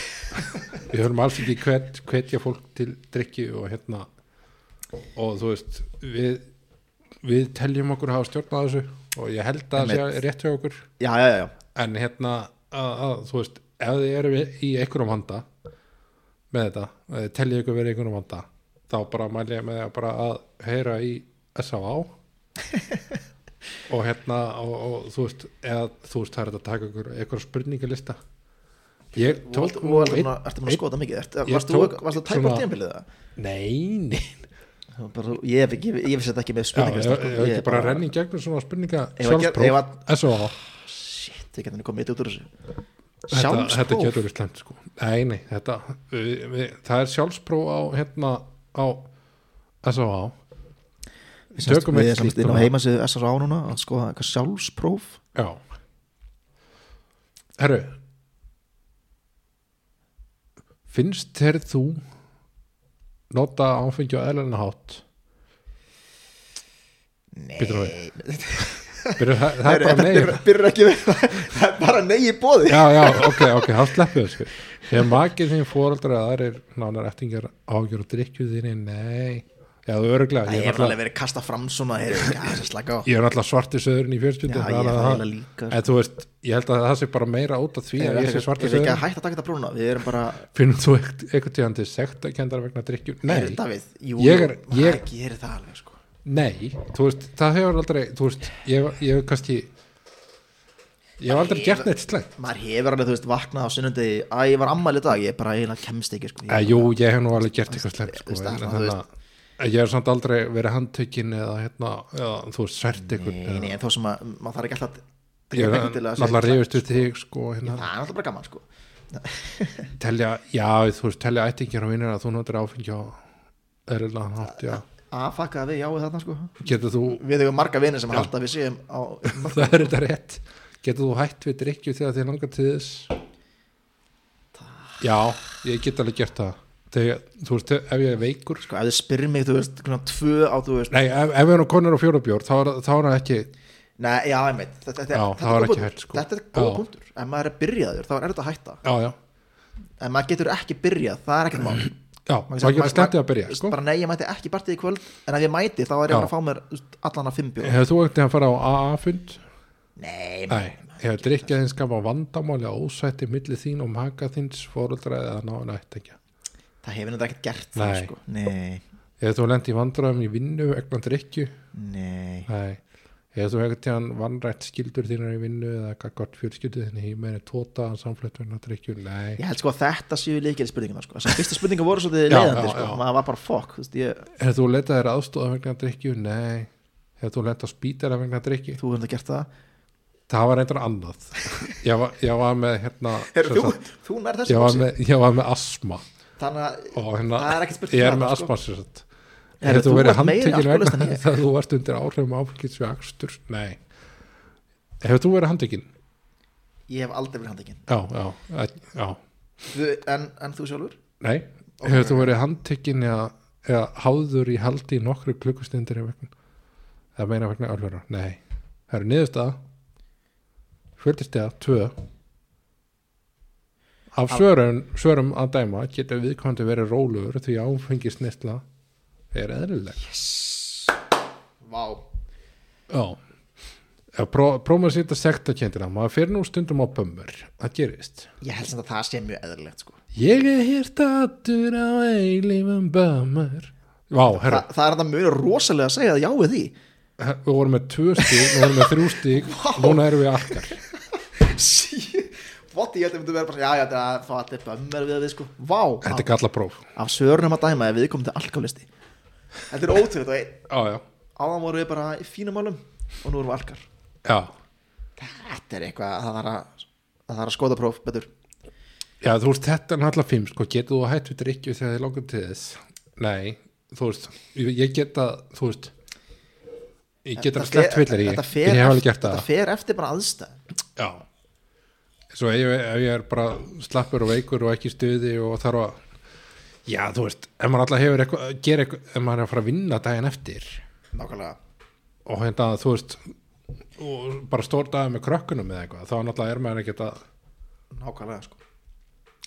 Speaker 1: við höfum alls ekki hvet, hvetja fólk til drikki og hérna og þú veist við, við teljum okkur að hafa stjórn á þessu og ég held að það sé rétt hjá okkur
Speaker 2: já, já, já, já,
Speaker 1: en hérna að, að, þú veist ef þið eru í einhverjum handa með þetta, ef þið teljið ykkur verið í einhverjum handa þá bara mæli ég með því að bara að heyra í S.A.A. og hérna og, og þú veist, eða þú veist það er hægt að taka ykkur, ykkur spurningalista ég tók
Speaker 2: Þú
Speaker 1: nú
Speaker 2: ertu
Speaker 1: einn-
Speaker 2: búin að- ertu búin að
Speaker 1: einn-
Speaker 2: skoða mikið Ertu-
Speaker 1: ég
Speaker 2: Varst þú
Speaker 1: tók
Speaker 2: varstu að tæpa
Speaker 1: svona-
Speaker 2: tímabilið það?
Speaker 1: nei, nei
Speaker 2: Það var bara- Ég hef ekki, ég vissi þetta ekki með
Speaker 1: Já,
Speaker 2: spurningar
Speaker 1: ég hef ekki bara renni í gegnum svona spurninga
Speaker 2: Ég var að gera- ég
Speaker 1: sjálfspróf,
Speaker 2: var-
Speaker 1: S.A.A.
Speaker 2: Shit, ég gæti komið eitt út úr þessu
Speaker 1: Þetta, þetta
Speaker 2: Sjálfspróf
Speaker 1: getur við slemt sko Nei, nei, þetta við, við, Það er sjálfspróf á hérna á S.A.A.
Speaker 2: Við semst-
Speaker 1: tökum eitt
Speaker 2: Við
Speaker 1: slíkt
Speaker 2: erum semst inn á
Speaker 1: núna.
Speaker 2: heimasíðu SRA núna að skoða eitthvað sjálfspróf
Speaker 1: Já Herru Finnst þér þú nota áfengi á eðlana hátt?
Speaker 2: Nei
Speaker 1: Býtur það Byrju, það, það er
Speaker 2: Herru,
Speaker 1: bara
Speaker 2: Þetta
Speaker 1: nei
Speaker 2: byrjar- byrjar ekki við Það er bara nei í bóði
Speaker 1: Já, já, ok, ok, það sleppið sko. Þegar makið þín fóreldra eða aðrir nánar eftingar ágjör og drikkju þínni, nei Já, þú öruglega
Speaker 2: Það hefur alveg verið kasta fram svona heyrðu, Já, þess að slaka á
Speaker 1: ég er náttúrulega svarti söðurinn í
Speaker 2: Já,
Speaker 1: fjörskjöldum
Speaker 2: ég er það heila líka sko.
Speaker 1: en þú veist, ég held að það sé bara meira út af því
Speaker 2: Ég
Speaker 1: að ég
Speaker 2: er
Speaker 1: sé svarti
Speaker 2: ekki að
Speaker 1: söðurinn
Speaker 2: hætta að taka þetta brúna Við erum bara
Speaker 1: finnum þú ekt- eitthvað tíðan til sektakendar vegna drikkju
Speaker 2: Heyrðu,
Speaker 1: nei,
Speaker 2: Davíð, jú,
Speaker 1: Ég er-
Speaker 2: jú,
Speaker 1: ég-
Speaker 2: maður gerir það alveg sko
Speaker 1: nei, þú veist, það hefur aldrei þú veist, ég ég hef kannski ég hef aldrei
Speaker 2: Ég-
Speaker 1: gert neitt slæmt
Speaker 2: Maður hefur alveg, þú veist, vaknað á sunnandi Æ, ég var ammæli í dag, ég bara eiginlega kemst ekki sko.
Speaker 1: Eh,
Speaker 2: Ég bara-
Speaker 1: jú, ég hef nú alveg gert eitthvað slæmt
Speaker 2: þú
Speaker 1: sko, en
Speaker 2: veist, það er
Speaker 1: þannig
Speaker 2: svona,
Speaker 1: að ég hef samt aldrei verið handtökin eða hérna, eða, þú veist, svært
Speaker 2: Nei,
Speaker 1: eitthvað
Speaker 2: nei, en þó sem að maður þarf ekki alltaf að-
Speaker 1: ég hef
Speaker 2: ekki til að segja-
Speaker 1: náttúrulega reyfist við þig sko, hérna,
Speaker 2: Það er alltaf bara gaman sko
Speaker 1: telja, já, þú veist, telja ættingjar og vinnir að þú notur áfengja erlega hátt, já
Speaker 2: Ah, að fakka við jáið þarna sko
Speaker 1: getur þú,
Speaker 2: Við hefum marga vinir sem halda að við séum á
Speaker 1: það er þetta rétt getur þú hætt við drikju þegar þið langar til þess já, ég get alveg gert það þegar, þú veist, ef ég er veikur
Speaker 2: Sko, ef þið spyrir mig, þú veist, svona tvö á, þú veist
Speaker 1: nei, ef, ef ég er nú konur og fjórabjór þá er, þá er það ekki,
Speaker 2: Nei, já, einmitt, þetta, þetta,
Speaker 1: Já,
Speaker 2: þetta
Speaker 1: það var
Speaker 2: er
Speaker 1: ekki
Speaker 2: góð punktur.
Speaker 1: hægt, sko.
Speaker 2: Þetta er góð
Speaker 1: Já.
Speaker 2: punktur Ef maður er byrjaður, þá er þetta að hætta
Speaker 1: já, já
Speaker 2: Ef maður getur ekki byrjað, það er ekkert mál
Speaker 1: já,
Speaker 2: Maður
Speaker 1: þá
Speaker 2: getur-
Speaker 1: getur
Speaker 2: maður-
Speaker 1: slettið að
Speaker 2: þú
Speaker 1: byrja
Speaker 2: veist,
Speaker 1: sko.
Speaker 2: Bara nei, ég mæti ekki partið í kvöld En ef ég mæti, þá er ég
Speaker 1: Já.
Speaker 2: að fara að fá mér þú veist, allan að fimm bjóð
Speaker 1: hefur þú ekkert að fara á AA-fund
Speaker 2: Nei,
Speaker 1: nei, hefur drikkið þinn skapa vandamáli á ósætti milli þín og maka þins fóruldra eða náðan ættingja
Speaker 2: það hefur þetta ekkert gert það,
Speaker 1: Nei.
Speaker 2: sko. Nei,
Speaker 1: hefur þú lent í vandræðum í vinnu vegna drikju
Speaker 2: nei
Speaker 1: Nei, eða þú hefði tíðan vannrætt skildur þínar í vinnu eða eitthvað gott fjölskyldu þínu í meðin tóta samflett verðna drikkju, nei
Speaker 2: Ég held sko að þetta séu líkir spurningarna sko. Þessar fyrstu spurningar voru svolítið
Speaker 1: Já,
Speaker 2: leiðandi
Speaker 1: já,
Speaker 2: sko.
Speaker 1: já.
Speaker 2: Maður var bara fokk þú veist, ég,
Speaker 1: Hefur þú letað þér aðstóða vegna drikkju, nei Hefur þú letað spítara vegna drikkju
Speaker 2: Þú hefur það gert það
Speaker 1: Það var eitthvað annað Ég var, ég var með hérna
Speaker 2: Heru,
Speaker 1: sem
Speaker 2: þú,
Speaker 1: sagt,
Speaker 2: þú nær
Speaker 1: ég,
Speaker 2: þessu
Speaker 1: var
Speaker 2: boxi.
Speaker 1: með, ég var með asma
Speaker 2: Þannig að
Speaker 1: og hérna,
Speaker 2: Það er ekki spurning
Speaker 1: ég
Speaker 2: um
Speaker 1: er með
Speaker 2: það, sko.
Speaker 1: asma sér satt
Speaker 2: Heyrðu,
Speaker 1: Hefur þú
Speaker 2: þú
Speaker 1: verið
Speaker 2: ert meiri
Speaker 1: handtekinn
Speaker 2: alkoholist
Speaker 1: vegna
Speaker 2: en ég.
Speaker 1: þess að þú varst undir áhrifum áfengis við akstur, nei Hefur þú verið handtekinn?
Speaker 2: ég hef aldrei verið handekinn
Speaker 1: Já, já, já
Speaker 2: en, en þú sjálfur?
Speaker 1: Nei, hefur þú verið handtekinn eða, eða háður í haldi í nokkru klukkustundir eða vegna eða meina vegna ölvera, nei það eru niðurstaða fjöldistega, tvö af svörum, svörum að dæma getur viðkomandi verið rólugur því áfengis nesla er eðlileg
Speaker 2: Vá
Speaker 1: Já Ef pró- prófum að setja sektakendina maður fer nú stundum á bömmur, það gerist
Speaker 2: Ég held sem að það sé mjög eðlilegt sko.
Speaker 1: Ég er hér stattur á eilífum bömmur Vá, herra
Speaker 2: Þa, Það er þetta mjög rosalega að segja að já við því
Speaker 1: við vorum með tvö stík, nú vorum við með þrjú stík núna erum við akkar
Speaker 2: Sí Votti, ég held að myndum vera bara Já, já, þetta er það er bömmar við við sko Vá
Speaker 1: þetta er
Speaker 2: Af,
Speaker 1: galla próf
Speaker 2: af svörnum að dæma ef við komum til alkoholisti Þetta er ótrúlega
Speaker 1: já, já.
Speaker 2: Áðan vorum við bara í fínum málum Og nú erum við alkar
Speaker 1: Já.
Speaker 2: Þetta er eitthvað að það þarf að Það þarf að skoða próf betur
Speaker 1: já, þú veist þetta er náttúrulega fimm sko, getur þú hætt við drikju þegar þið langar til þess nei, þú veist ég ég get að, þú veist ég get að
Speaker 2: Þetta
Speaker 1: slett
Speaker 2: fer-
Speaker 1: villir í
Speaker 2: þetta
Speaker 1: ég
Speaker 2: fer
Speaker 1: hef alveg
Speaker 2: eft-
Speaker 1: gert
Speaker 2: Þetta
Speaker 1: það
Speaker 2: fer eftir bara aðstæð
Speaker 1: já svo ef ég, ef ég er bara slappur og veikur og ekki í stuði og þarf að já, þú veist, ef maður alltaf hefur eitthvað gera eitthvað, ef maður er að fara að vinna daginn eftir
Speaker 2: Nákvæmlega
Speaker 1: og hérna þú veist og bara stór dagið með krökkunum eða eitthvað þá náttúrulega er maður ekkert að
Speaker 2: Nákvæmlega sko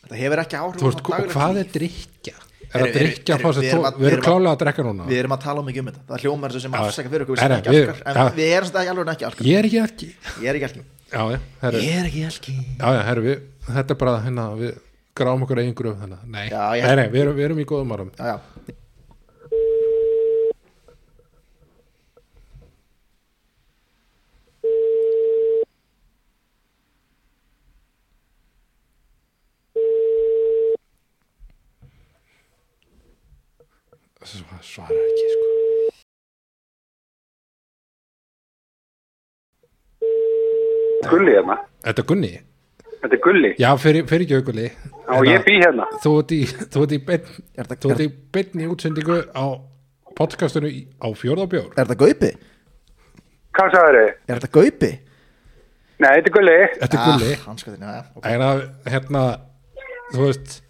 Speaker 2: Þetta hefur ekki áhrif
Speaker 1: þú veist,
Speaker 2: á
Speaker 1: og
Speaker 2: daglegt
Speaker 1: hvað
Speaker 2: líf.
Speaker 1: er drikja? er
Speaker 2: Heyrðu,
Speaker 1: að drikja
Speaker 2: við-
Speaker 1: að fá sér
Speaker 2: við
Speaker 1: tó
Speaker 2: erum að-
Speaker 1: við
Speaker 2: við
Speaker 1: erum
Speaker 2: erum að-
Speaker 1: klálega að drekka núna
Speaker 2: Við erum að tala mikið um þetta Það hljómar þessu sem
Speaker 1: Já.
Speaker 2: afsækja fyrir okkur við
Speaker 1: Nei,
Speaker 2: sem
Speaker 1: nei,
Speaker 2: ekki
Speaker 1: við-
Speaker 2: alkar En
Speaker 1: já.
Speaker 2: við erum svona alveg ekki alkar
Speaker 1: ég er ekki ekki
Speaker 2: Ég er ekki alkar
Speaker 1: já, já, herru,
Speaker 2: Ég er ekki alkar
Speaker 1: já, já, herru, við, þetta er bara hérna, við gráum okkur eigin gröf þannig að- nei,
Speaker 2: Já, ég-
Speaker 1: nei, nei við, erum, við erum í góðum árum
Speaker 2: Já, já
Speaker 1: sva- svarar ekki sko.
Speaker 4: Gulli hérna.
Speaker 1: Þetta er Gunni
Speaker 4: Þetta er Gulli.
Speaker 1: Já, fyrir, fyrir ekki aukvöli
Speaker 4: Já, ég bý hérna.
Speaker 1: Þú ert í, þú ert í beinn
Speaker 2: Er þetta-
Speaker 1: Þú ert í beinni útsendingu á podcastinu í, á fjórðabjór
Speaker 2: Er þetta gaupi?
Speaker 4: Hvað sagður þau?
Speaker 2: Er þetta gaupi?
Speaker 4: Nei, þetta er Gulli.
Speaker 1: Þetta er Gulli
Speaker 2: Ah, hanskatinn, já, já, ok.
Speaker 1: Það er að, hérna, þú veist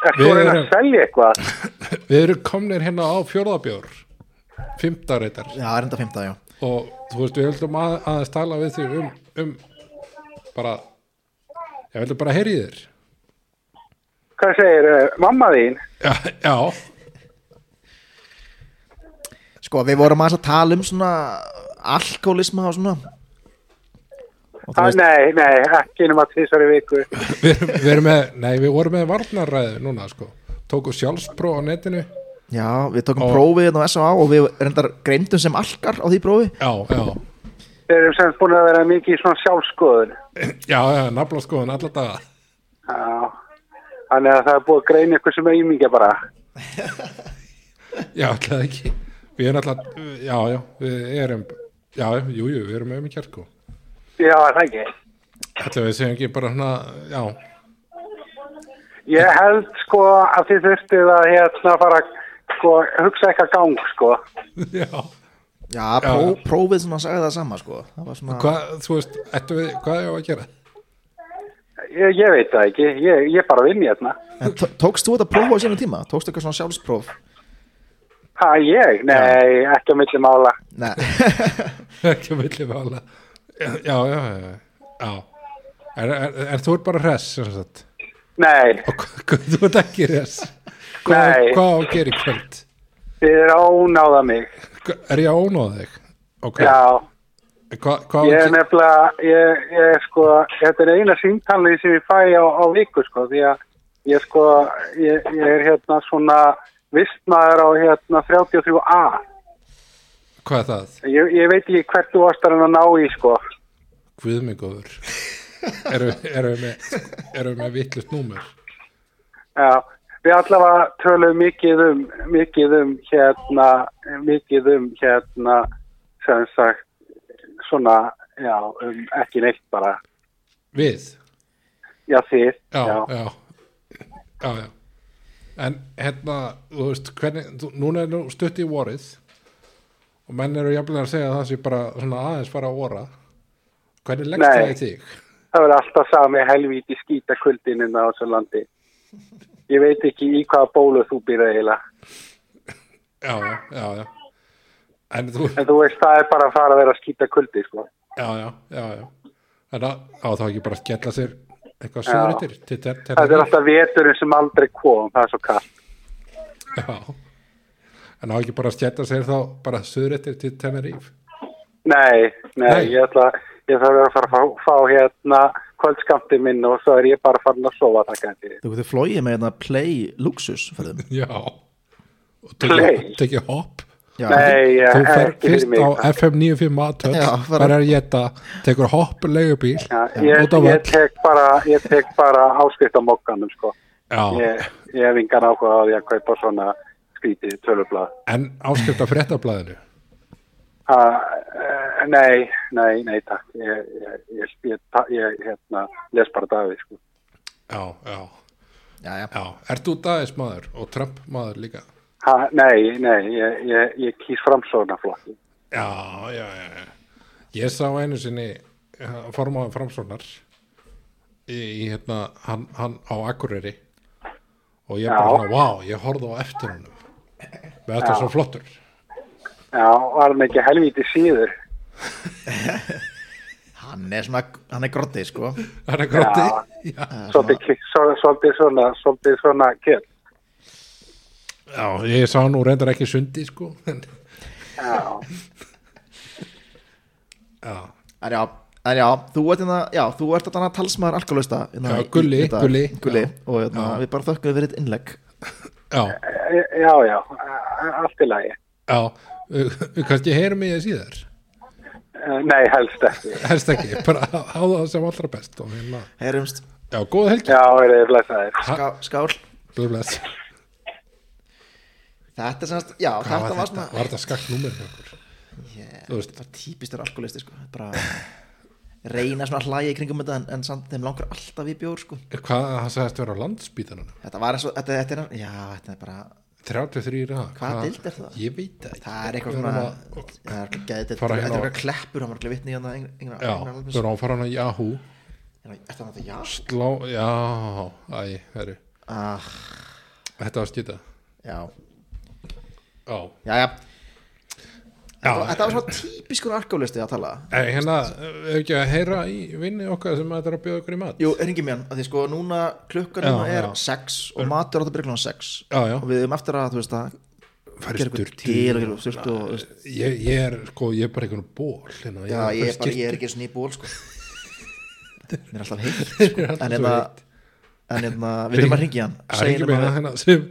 Speaker 4: Er
Speaker 1: Við
Speaker 4: þú reyna að
Speaker 1: erum-
Speaker 4: selja eitthvað?
Speaker 1: Við erum komnir hérna á fjórðabjór Fymtarreitar
Speaker 2: Já, er þetta fymta, já
Speaker 1: Og þú veist, við höldum að, aðeins tala við þig um, um Bara Ég veldur bara heyri þér
Speaker 4: Hvað segir uh, mamma þín?
Speaker 1: Já, já
Speaker 2: Sko, við vorum aðeins að tala um svona alkoholisma og svona og þú
Speaker 4: Ah,
Speaker 2: veist,
Speaker 4: nei, nei, ekki nema tvisar í viku.
Speaker 1: við, erum- við erum með, nei við vorum með varnarræðu núna sko, tóku sjálfspró á netinu
Speaker 2: já, við tókum
Speaker 1: Og-
Speaker 2: prófið hérna á S.A. og við reyndar greindum sem alkar á því prófi
Speaker 1: já, já,
Speaker 4: Þeir eru semst búin að vera mikið í svona sjálfskoðun.
Speaker 1: já, já nafla skoðan alla daga
Speaker 4: Já. Þannig að það er búið að greina ykkur sem auðmingja bara.
Speaker 1: já, alltaf ekki við erum alltaf, já, já, við erum já, jú, jú, við erum með mikið sko
Speaker 4: Já, er það ekki.
Speaker 1: alltaf við segjum ekki bara hana, já
Speaker 4: Ég held sko að þið þurftið að hérna fara sko hugsa eitthvað gang sko.
Speaker 1: já,
Speaker 2: Já, pró, prófið svona sagði það sama, sko það var svona,
Speaker 1: hvað, þú veist, ættu við hvað er að gera?
Speaker 4: Ég, ég veit það ekki, ég, ég bara vinn hérna.
Speaker 2: en tó- tókst þú þetta próf á sínum tíma? Tókst eitthvað svona sjálfspróf?
Speaker 4: Ha, ég? Nei, ekki á milli mála.
Speaker 2: Nei,
Speaker 1: ekki að vilja við alla já, já, já, já, já. Er, er, er þú er bara hress sem sagt?
Speaker 4: Nei,
Speaker 1: og hvað, hvað, þú ert ekki hress hvað,
Speaker 4: Nei.
Speaker 1: hvað á að gera í kvöld?
Speaker 4: þið er ánáða mig.
Speaker 1: Er ég að ónáða þig? Ok,
Speaker 4: Já,
Speaker 1: Hva, hvað
Speaker 4: ég
Speaker 1: á
Speaker 4: er
Speaker 1: að gera?
Speaker 4: nefnilega, ég, ég er sko, þetta er eina síntalni sem ég fæ á, á viku sko, því að ég sko, ég, ég er hérna svona vistmaður á hérna 33A.
Speaker 1: Hvað er það?
Speaker 4: Ég, ég veit ekki hvert þú varst að reyna að ná í sko.
Speaker 1: Guðmengóður Erum erum við með erum við með vittlust númer?
Speaker 4: Já, við allavega tölum mikið um, mikið um hérna, mikið um hérna, sem sagt, svona, já, um ekki neitt bara.
Speaker 1: Við?
Speaker 4: Já, þið.
Speaker 1: Já, já Já, já En hérna, þú veist, hvernig þú, núna er nú stutt í vorið og menn eru jafnilega að segja að það sé bara svona aðeins fara að vora Hvernig leggst
Speaker 4: Nei.
Speaker 1: það í þig?
Speaker 4: Það verður alltaf sami helvíti skýta kuldininn á þessu landi. Ég veit ekki í hvaða bólu þú býrði eiginlega.
Speaker 1: Já, já, já, já En þú,
Speaker 4: En þú veist, það er bara að fara að vera að skýta kuldi, sko.
Speaker 1: já, já, já, já En það á þá ekki bara að skella sér eitthvað söður yttir til ter- ter-
Speaker 4: Það er alltaf veturinn sem aldrei kom, það er svo kallt.
Speaker 1: Já, en á ekki bara að stjæta sér þá bara suðréttir til Tenerife.
Speaker 4: Nei, nei,
Speaker 1: Nei.
Speaker 4: ég ætla, ég þarf að fara að fá, fá hérna kvöldskamti minn og svo er ég bara farin að sofa það kannski.
Speaker 2: þú getur flóið með þetta play luxus fyrir þeim
Speaker 1: Já. Og
Speaker 4: Play.
Speaker 1: tekið teki hopp.
Speaker 2: Já,
Speaker 4: Nei, ég,
Speaker 1: Þú fer
Speaker 4: ekki fyrir
Speaker 1: fyrst á
Speaker 4: mig.
Speaker 1: FM 95 matöld,
Speaker 2: Já, bara-
Speaker 1: þar er ég þetta, tekur hopp leigubíl,
Speaker 4: Já, ég,
Speaker 1: út á
Speaker 4: ég
Speaker 1: völl.
Speaker 4: tek bara, ég tek bara áskrift á mokkanum, sko.
Speaker 1: Já,
Speaker 4: Ég, ég hef engan áhuga á því að kaupa svona skrítið tölublað.
Speaker 1: en áskrift af fréttablaðinu.
Speaker 4: Uh, nei, nei, nei, takk. Ég, ég, ég, ég, ta- ég hérna, les bara Davíð, sko.
Speaker 1: Já, já,
Speaker 2: já, já,
Speaker 1: já. Ert þú dagis maður og Trump maður líka?
Speaker 4: Ha, nei, nei, ég, ég, ég kýs framsóknarflokki.
Speaker 1: Já, já, já. já. Ég sá einu sinni formáðan framsóknar í, í hérna, hann, hann á Akureyri og ég bara
Speaker 4: Já.
Speaker 1: svona, vá, ég horfði á eftir honum. Við þetta er svo flottur.
Speaker 4: Já, var hann ekki helvíti síður.
Speaker 2: hann er svona hann er grotti, sko
Speaker 1: Hann er grátti. Já.
Speaker 4: Svolítið, ki- svo- svolítið svona, svolítið svona kjöld.
Speaker 1: já, ég sá hann nú reyndar ekki sundi, sko. en-
Speaker 4: Já,
Speaker 1: já,
Speaker 2: En já, en já, þú ert hérna, já, þú ert þarna talsmaður alkoholista hérna,
Speaker 1: Já,
Speaker 2: í-
Speaker 1: Gulli,
Speaker 2: í dag.
Speaker 1: Gulli,
Speaker 2: Gulli,
Speaker 1: já.
Speaker 2: og hérna, við bara þökkum við þitt innlegg
Speaker 1: já,
Speaker 4: E- já, já, a- allt í lagi.
Speaker 1: já. Uh, Kannski heyrum ég síðar.
Speaker 4: Eh, Nei, helst ekki.
Speaker 1: Helst ekki, bara hafa það sem allra best. Og hérna,
Speaker 2: Heyrumst,
Speaker 1: já, góð helgi.
Speaker 4: Já, er þið blessaðir.
Speaker 2: ská, skál
Speaker 1: Bless, bless.
Speaker 2: Þetta er semast, já,
Speaker 1: Hvað
Speaker 2: þetta var svona
Speaker 1: Var þetta skakt númer hjá okkur?
Speaker 2: yeah,
Speaker 1: Þú veist.
Speaker 2: Þetta var típist er alkoholisti sko Bara reyna svona að hlæja í kringum þetta en, en samt þeim langar alltaf í bjór sko
Speaker 1: Hvað það sagðist vera á landsbítanunum?
Speaker 2: Þetta var eins og, þetta, þetta er, já, þetta er bara
Speaker 1: 33 ræða
Speaker 2: Hvaða deild er það?
Speaker 1: Ég veit það ekki
Speaker 2: Það er eitthvað
Speaker 1: Við
Speaker 2: svona
Speaker 1: erum að-
Speaker 2: Það er ekki gæðið, þetta
Speaker 1: Fara
Speaker 2: er
Speaker 1: hérna á-
Speaker 2: eitthvað kleppur hann var ekki vitni í hann að England
Speaker 1: Já, við erum að fara hann á Yahoo
Speaker 2: Þetta var þetta, já
Speaker 1: Slá, já, æ, herru
Speaker 2: Ah,
Speaker 1: Þetta var skita
Speaker 2: Já,
Speaker 1: Já,
Speaker 2: já, já
Speaker 1: já
Speaker 2: Þetta var svona típiskur alkoholisti að tala
Speaker 1: En hérna, hefur ekki að heyra í vinni okkar sem þetta er að bjóða ykkur í mat
Speaker 2: Jú, ringi mér hann, af því sko núna klukkan
Speaker 1: Já,
Speaker 2: núna er
Speaker 1: já.
Speaker 2: 6 og matur er alltaf byrjum klukkan 6
Speaker 1: Já, já.
Speaker 2: og við erum eftir að, þú veist að
Speaker 1: Fara í
Speaker 2: gera eitthvað
Speaker 1: sturtu.
Speaker 2: til og gera styrkt og þú veist,
Speaker 1: ég, ég er, sko, ég er bara einhvern ból hérna,
Speaker 2: já,
Speaker 1: að fara í
Speaker 2: ég er bara, ég
Speaker 1: sturtu.
Speaker 2: er ekki eins og nýból sko mér er alltaf heitt
Speaker 1: Ég er
Speaker 2: sko.
Speaker 1: alltaf
Speaker 2: en
Speaker 1: svo
Speaker 2: hérna
Speaker 1: heitt.
Speaker 2: en hérna, við erum að ringi hann
Speaker 1: Það er
Speaker 2: segja
Speaker 1: ekki
Speaker 2: honum
Speaker 1: meina
Speaker 2: að-
Speaker 1: hérna sem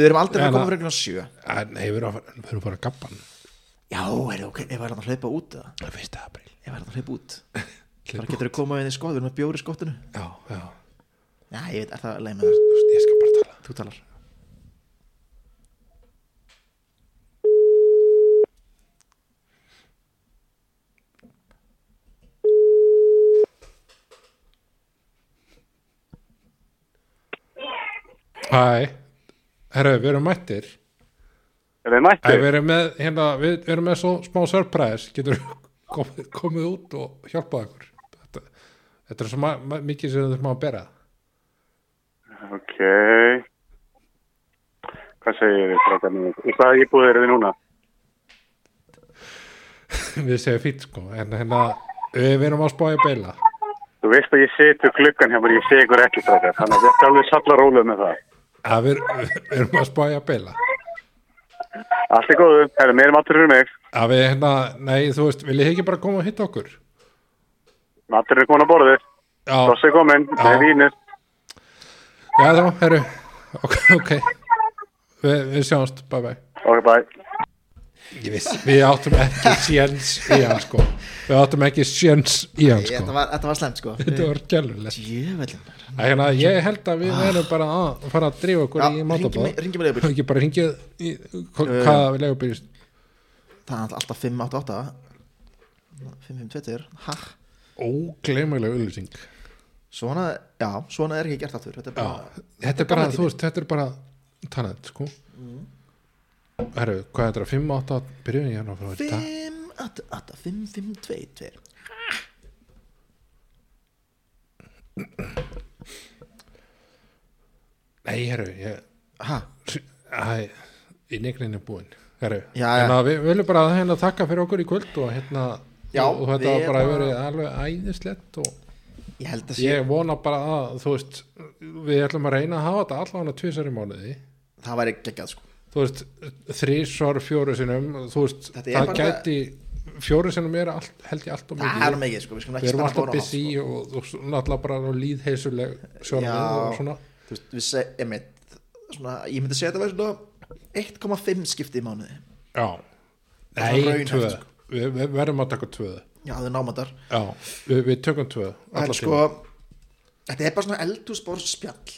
Speaker 2: við erum aldrei að
Speaker 1: Hérna.
Speaker 2: koma fyrir klukkan 7
Speaker 1: Æ, Nei, við erum að fara- við erum bara að gabban
Speaker 2: já, er ok, ef var hann að hlaupa út eða?
Speaker 1: Það er fyrsta april
Speaker 2: ef var hann að hlaupa út bara getur þú komað inn í skot, við erum að bjóri skotinu
Speaker 1: Já, já,
Speaker 2: já, ég veit, er það leið með það,
Speaker 1: Þú veist, ég skal bara tala
Speaker 2: þú talar
Speaker 1: Hæ, herru, við erum mættir
Speaker 4: Er þið
Speaker 1: Æ, við
Speaker 4: mættir?
Speaker 1: erum með, hérna, við, við erum með svo smá surprise Getur komið, komið út og hjálpað ykkur Þetta, þetta er svo ma- ma- mikið sem við þurfum að bera
Speaker 4: Ok. Hvað segir þið frákar nú? Í hvaða íbúð eru þið núna?
Speaker 1: Við segjum fýtt, sko, en hérna, við, við erum að spája beila
Speaker 4: Þú veist að ég set við gluggan hjá mér, ég sé ykkur ekki frákar. Þannig að þetta er alveg sallar róluð með það.
Speaker 1: Að við, við erum að spája beila
Speaker 4: Allt er góðu. Það eru meiri matur fyrir mig.
Speaker 1: Að við, hérna, nei, þú veist, viljið þið ekki bara koma og hitta okkur?
Speaker 4: Matur er komin á borðið.
Speaker 1: Já,
Speaker 4: Tossi komin.
Speaker 1: Já.
Speaker 4: Með vínir.
Speaker 1: já þá, herru Ok, ok Vi, Við sjáumst, bye bye
Speaker 4: Ok, bye.
Speaker 1: Ég vissi, við áttum ekki sjens í hann sko Við áttum ekki sjens í hann
Speaker 2: Ég- þetta
Speaker 1: sko
Speaker 2: var- þetta var slemt sko
Speaker 1: Þetta var gælulegt
Speaker 2: djöfellin
Speaker 1: Hérna, ég held að við verðum bara að fara að drífa okkur í
Speaker 2: Já,
Speaker 1: Eh.
Speaker 2: ringi mig-
Speaker 1: mátabóð
Speaker 2: ringi mig leigubíl.
Speaker 1: Ekki bara ringið í, hva- hvaða við leigubíl
Speaker 2: það er alltaf 588 552 ha
Speaker 1: Ógleymulega auðlýsing
Speaker 2: svona, já, svona er ekki gert aftur þetta Mm. er
Speaker 1: Já,
Speaker 2: bara,
Speaker 1: þetta er bara, þú veist, þetta er bara Tannett, sko Herru, hvað er þetta? 5-8 byrjun ég hérna frá þetta
Speaker 2: 5, 8, 8, 5, 5, 2, 2
Speaker 1: Nei, herru, ég
Speaker 2: ha,
Speaker 1: Æ, í neglinn er búinn Herru,
Speaker 2: Já, já.
Speaker 1: hérna, við viljum bara hérna, þakka fyrir okkur í kvöld og hérna
Speaker 2: Já,
Speaker 1: og, og þetta
Speaker 2: við
Speaker 1: var bara
Speaker 2: bara-
Speaker 1: verið alveg æðislegt og
Speaker 2: ég held að sé
Speaker 1: ég vona bara að þú veist, við ætlum að reyna að hafa þetta allavega tvisar í mánuði
Speaker 2: það væri geggjað sko
Speaker 1: þú veist, þrísvar fjóru sinum, þú veist,
Speaker 2: Þetta er
Speaker 1: það
Speaker 2: bara-
Speaker 1: gæti fjóru sinum er allt, held ég allt og
Speaker 2: það er
Speaker 1: mikið
Speaker 2: mikið sko, við skulum
Speaker 1: við
Speaker 2: ekki
Speaker 1: erum
Speaker 2: stanna
Speaker 1: alltaf
Speaker 2: bóra á
Speaker 1: busy
Speaker 2: hálf
Speaker 1: og, og, og náttúrulega bara líðheysuleg sjónum og svona
Speaker 2: sko. þú veist, við seg, ég mynd svona, ég myndi segja þetta væri svona 1,5 skipti í mánuði
Speaker 1: já,
Speaker 2: er
Speaker 1: nei,
Speaker 2: raunhæft,
Speaker 1: tvö
Speaker 2: sko.
Speaker 1: við, við verðum að taka tvö
Speaker 2: já, þau námatar
Speaker 1: Já, við, við tökum tvö alla
Speaker 2: en sko,
Speaker 1: tíma.
Speaker 2: þetta er bara svona eldhúsbór spjall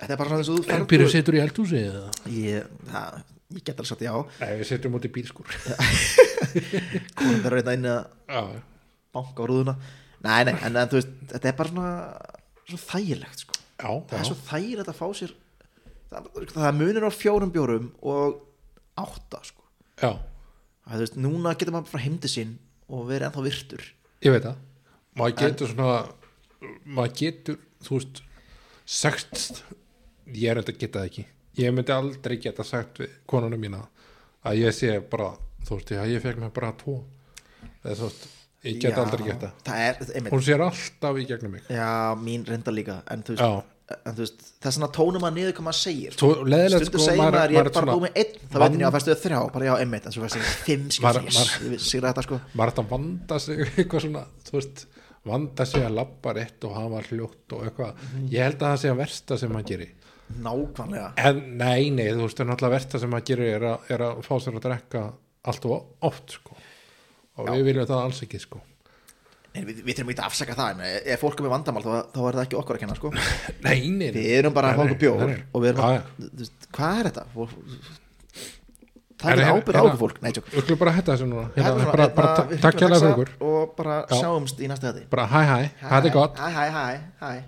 Speaker 2: þetta er bara svona eins og þú ferð-
Speaker 1: Pyrrhus situr í eldhúsi eða?
Speaker 2: ég, það, ég get alveg sagt já
Speaker 1: Nei, við sittum út í bílskur Já,
Speaker 2: konum verður reynda inn að
Speaker 1: já.
Speaker 2: banka á rúðuna nei, nei, en, en þú veist, þetta er bara svona, svona þægilegt sko.
Speaker 1: já,
Speaker 2: það er svo þægilegt að fá sér það, það munir á fjórum bjórum og átta sko.
Speaker 1: já,
Speaker 2: það, þú veist, núna getur maður frá heimdi sín og verið ennþá virtur
Speaker 1: ég veit það Maður getur svona maður getur, þú veist sagt, ég er enda að geta það ekki ég myndi aldrei geta sagt við konunum mína að ég sé bara, þú veist, já, ég fekk mér bara tvo eða þú veist, ég get
Speaker 2: Já,
Speaker 1: aldrei geta
Speaker 2: það er, einmitt,
Speaker 1: hún sér alltaf í gegnum mig
Speaker 2: já, mín reynda líka en þú
Speaker 1: Já.
Speaker 2: veist, en, þú veist það er svona tónum að niður hvað maður segir
Speaker 1: Svo sko, leðilegt
Speaker 2: stundu segir maður, ég er bara búið með einn þá veitin ég að
Speaker 1: vann-
Speaker 2: fæstu þrjá, bara já, einmitt en svo fæstu fimm
Speaker 1: Maður-
Speaker 2: skipt, yes,
Speaker 1: maður-
Speaker 2: ég sigra þetta sko
Speaker 1: maður þetta vanda sig eitthvað svona, þú veist vanda sig að labba rétt og hafa hljótt og eitthvað,
Speaker 2: Mhm.
Speaker 1: ég held að það sé að versta sem maður gerir,
Speaker 2: nákvæmlega
Speaker 1: en nei, nei þú veist, en alltaf versta sem maður gerir er, að- er að fá sér að drekka allt og oft sko, og við viljum það alls ekki sko,
Speaker 2: Nei, við, við þurfum ekki að afsaka það en ef fólk er með vandamál þá, þá er það ekki okkur að kenna sko.
Speaker 1: nei, nei, nei
Speaker 2: við erum bara að fá
Speaker 1: Nei,
Speaker 2: okkur
Speaker 1: nei,
Speaker 2: bjór
Speaker 1: nei, nei.
Speaker 2: og við erum
Speaker 1: Já,
Speaker 2: að,
Speaker 1: já.
Speaker 2: þú veist, hvað er þetta Fólk- það er
Speaker 1: En hérna-
Speaker 2: ábyrð á okkur fólk Nei, tjók
Speaker 1: Við skulum bara hætta þessu núna
Speaker 2: Hérna,
Speaker 1: hérna,
Speaker 2: svona,
Speaker 1: bara,
Speaker 2: hérna,
Speaker 1: bara,
Speaker 2: við
Speaker 1: Takk hjá
Speaker 2: þurfum
Speaker 1: fyrir
Speaker 2: að relaxa
Speaker 1: okkur
Speaker 2: og bara
Speaker 1: Já.
Speaker 2: sjáumst í næsta hætti
Speaker 1: Bara hæ hæ, hæ, hæ, hæ, hæ,
Speaker 2: hæ, hæ, hæ, hæ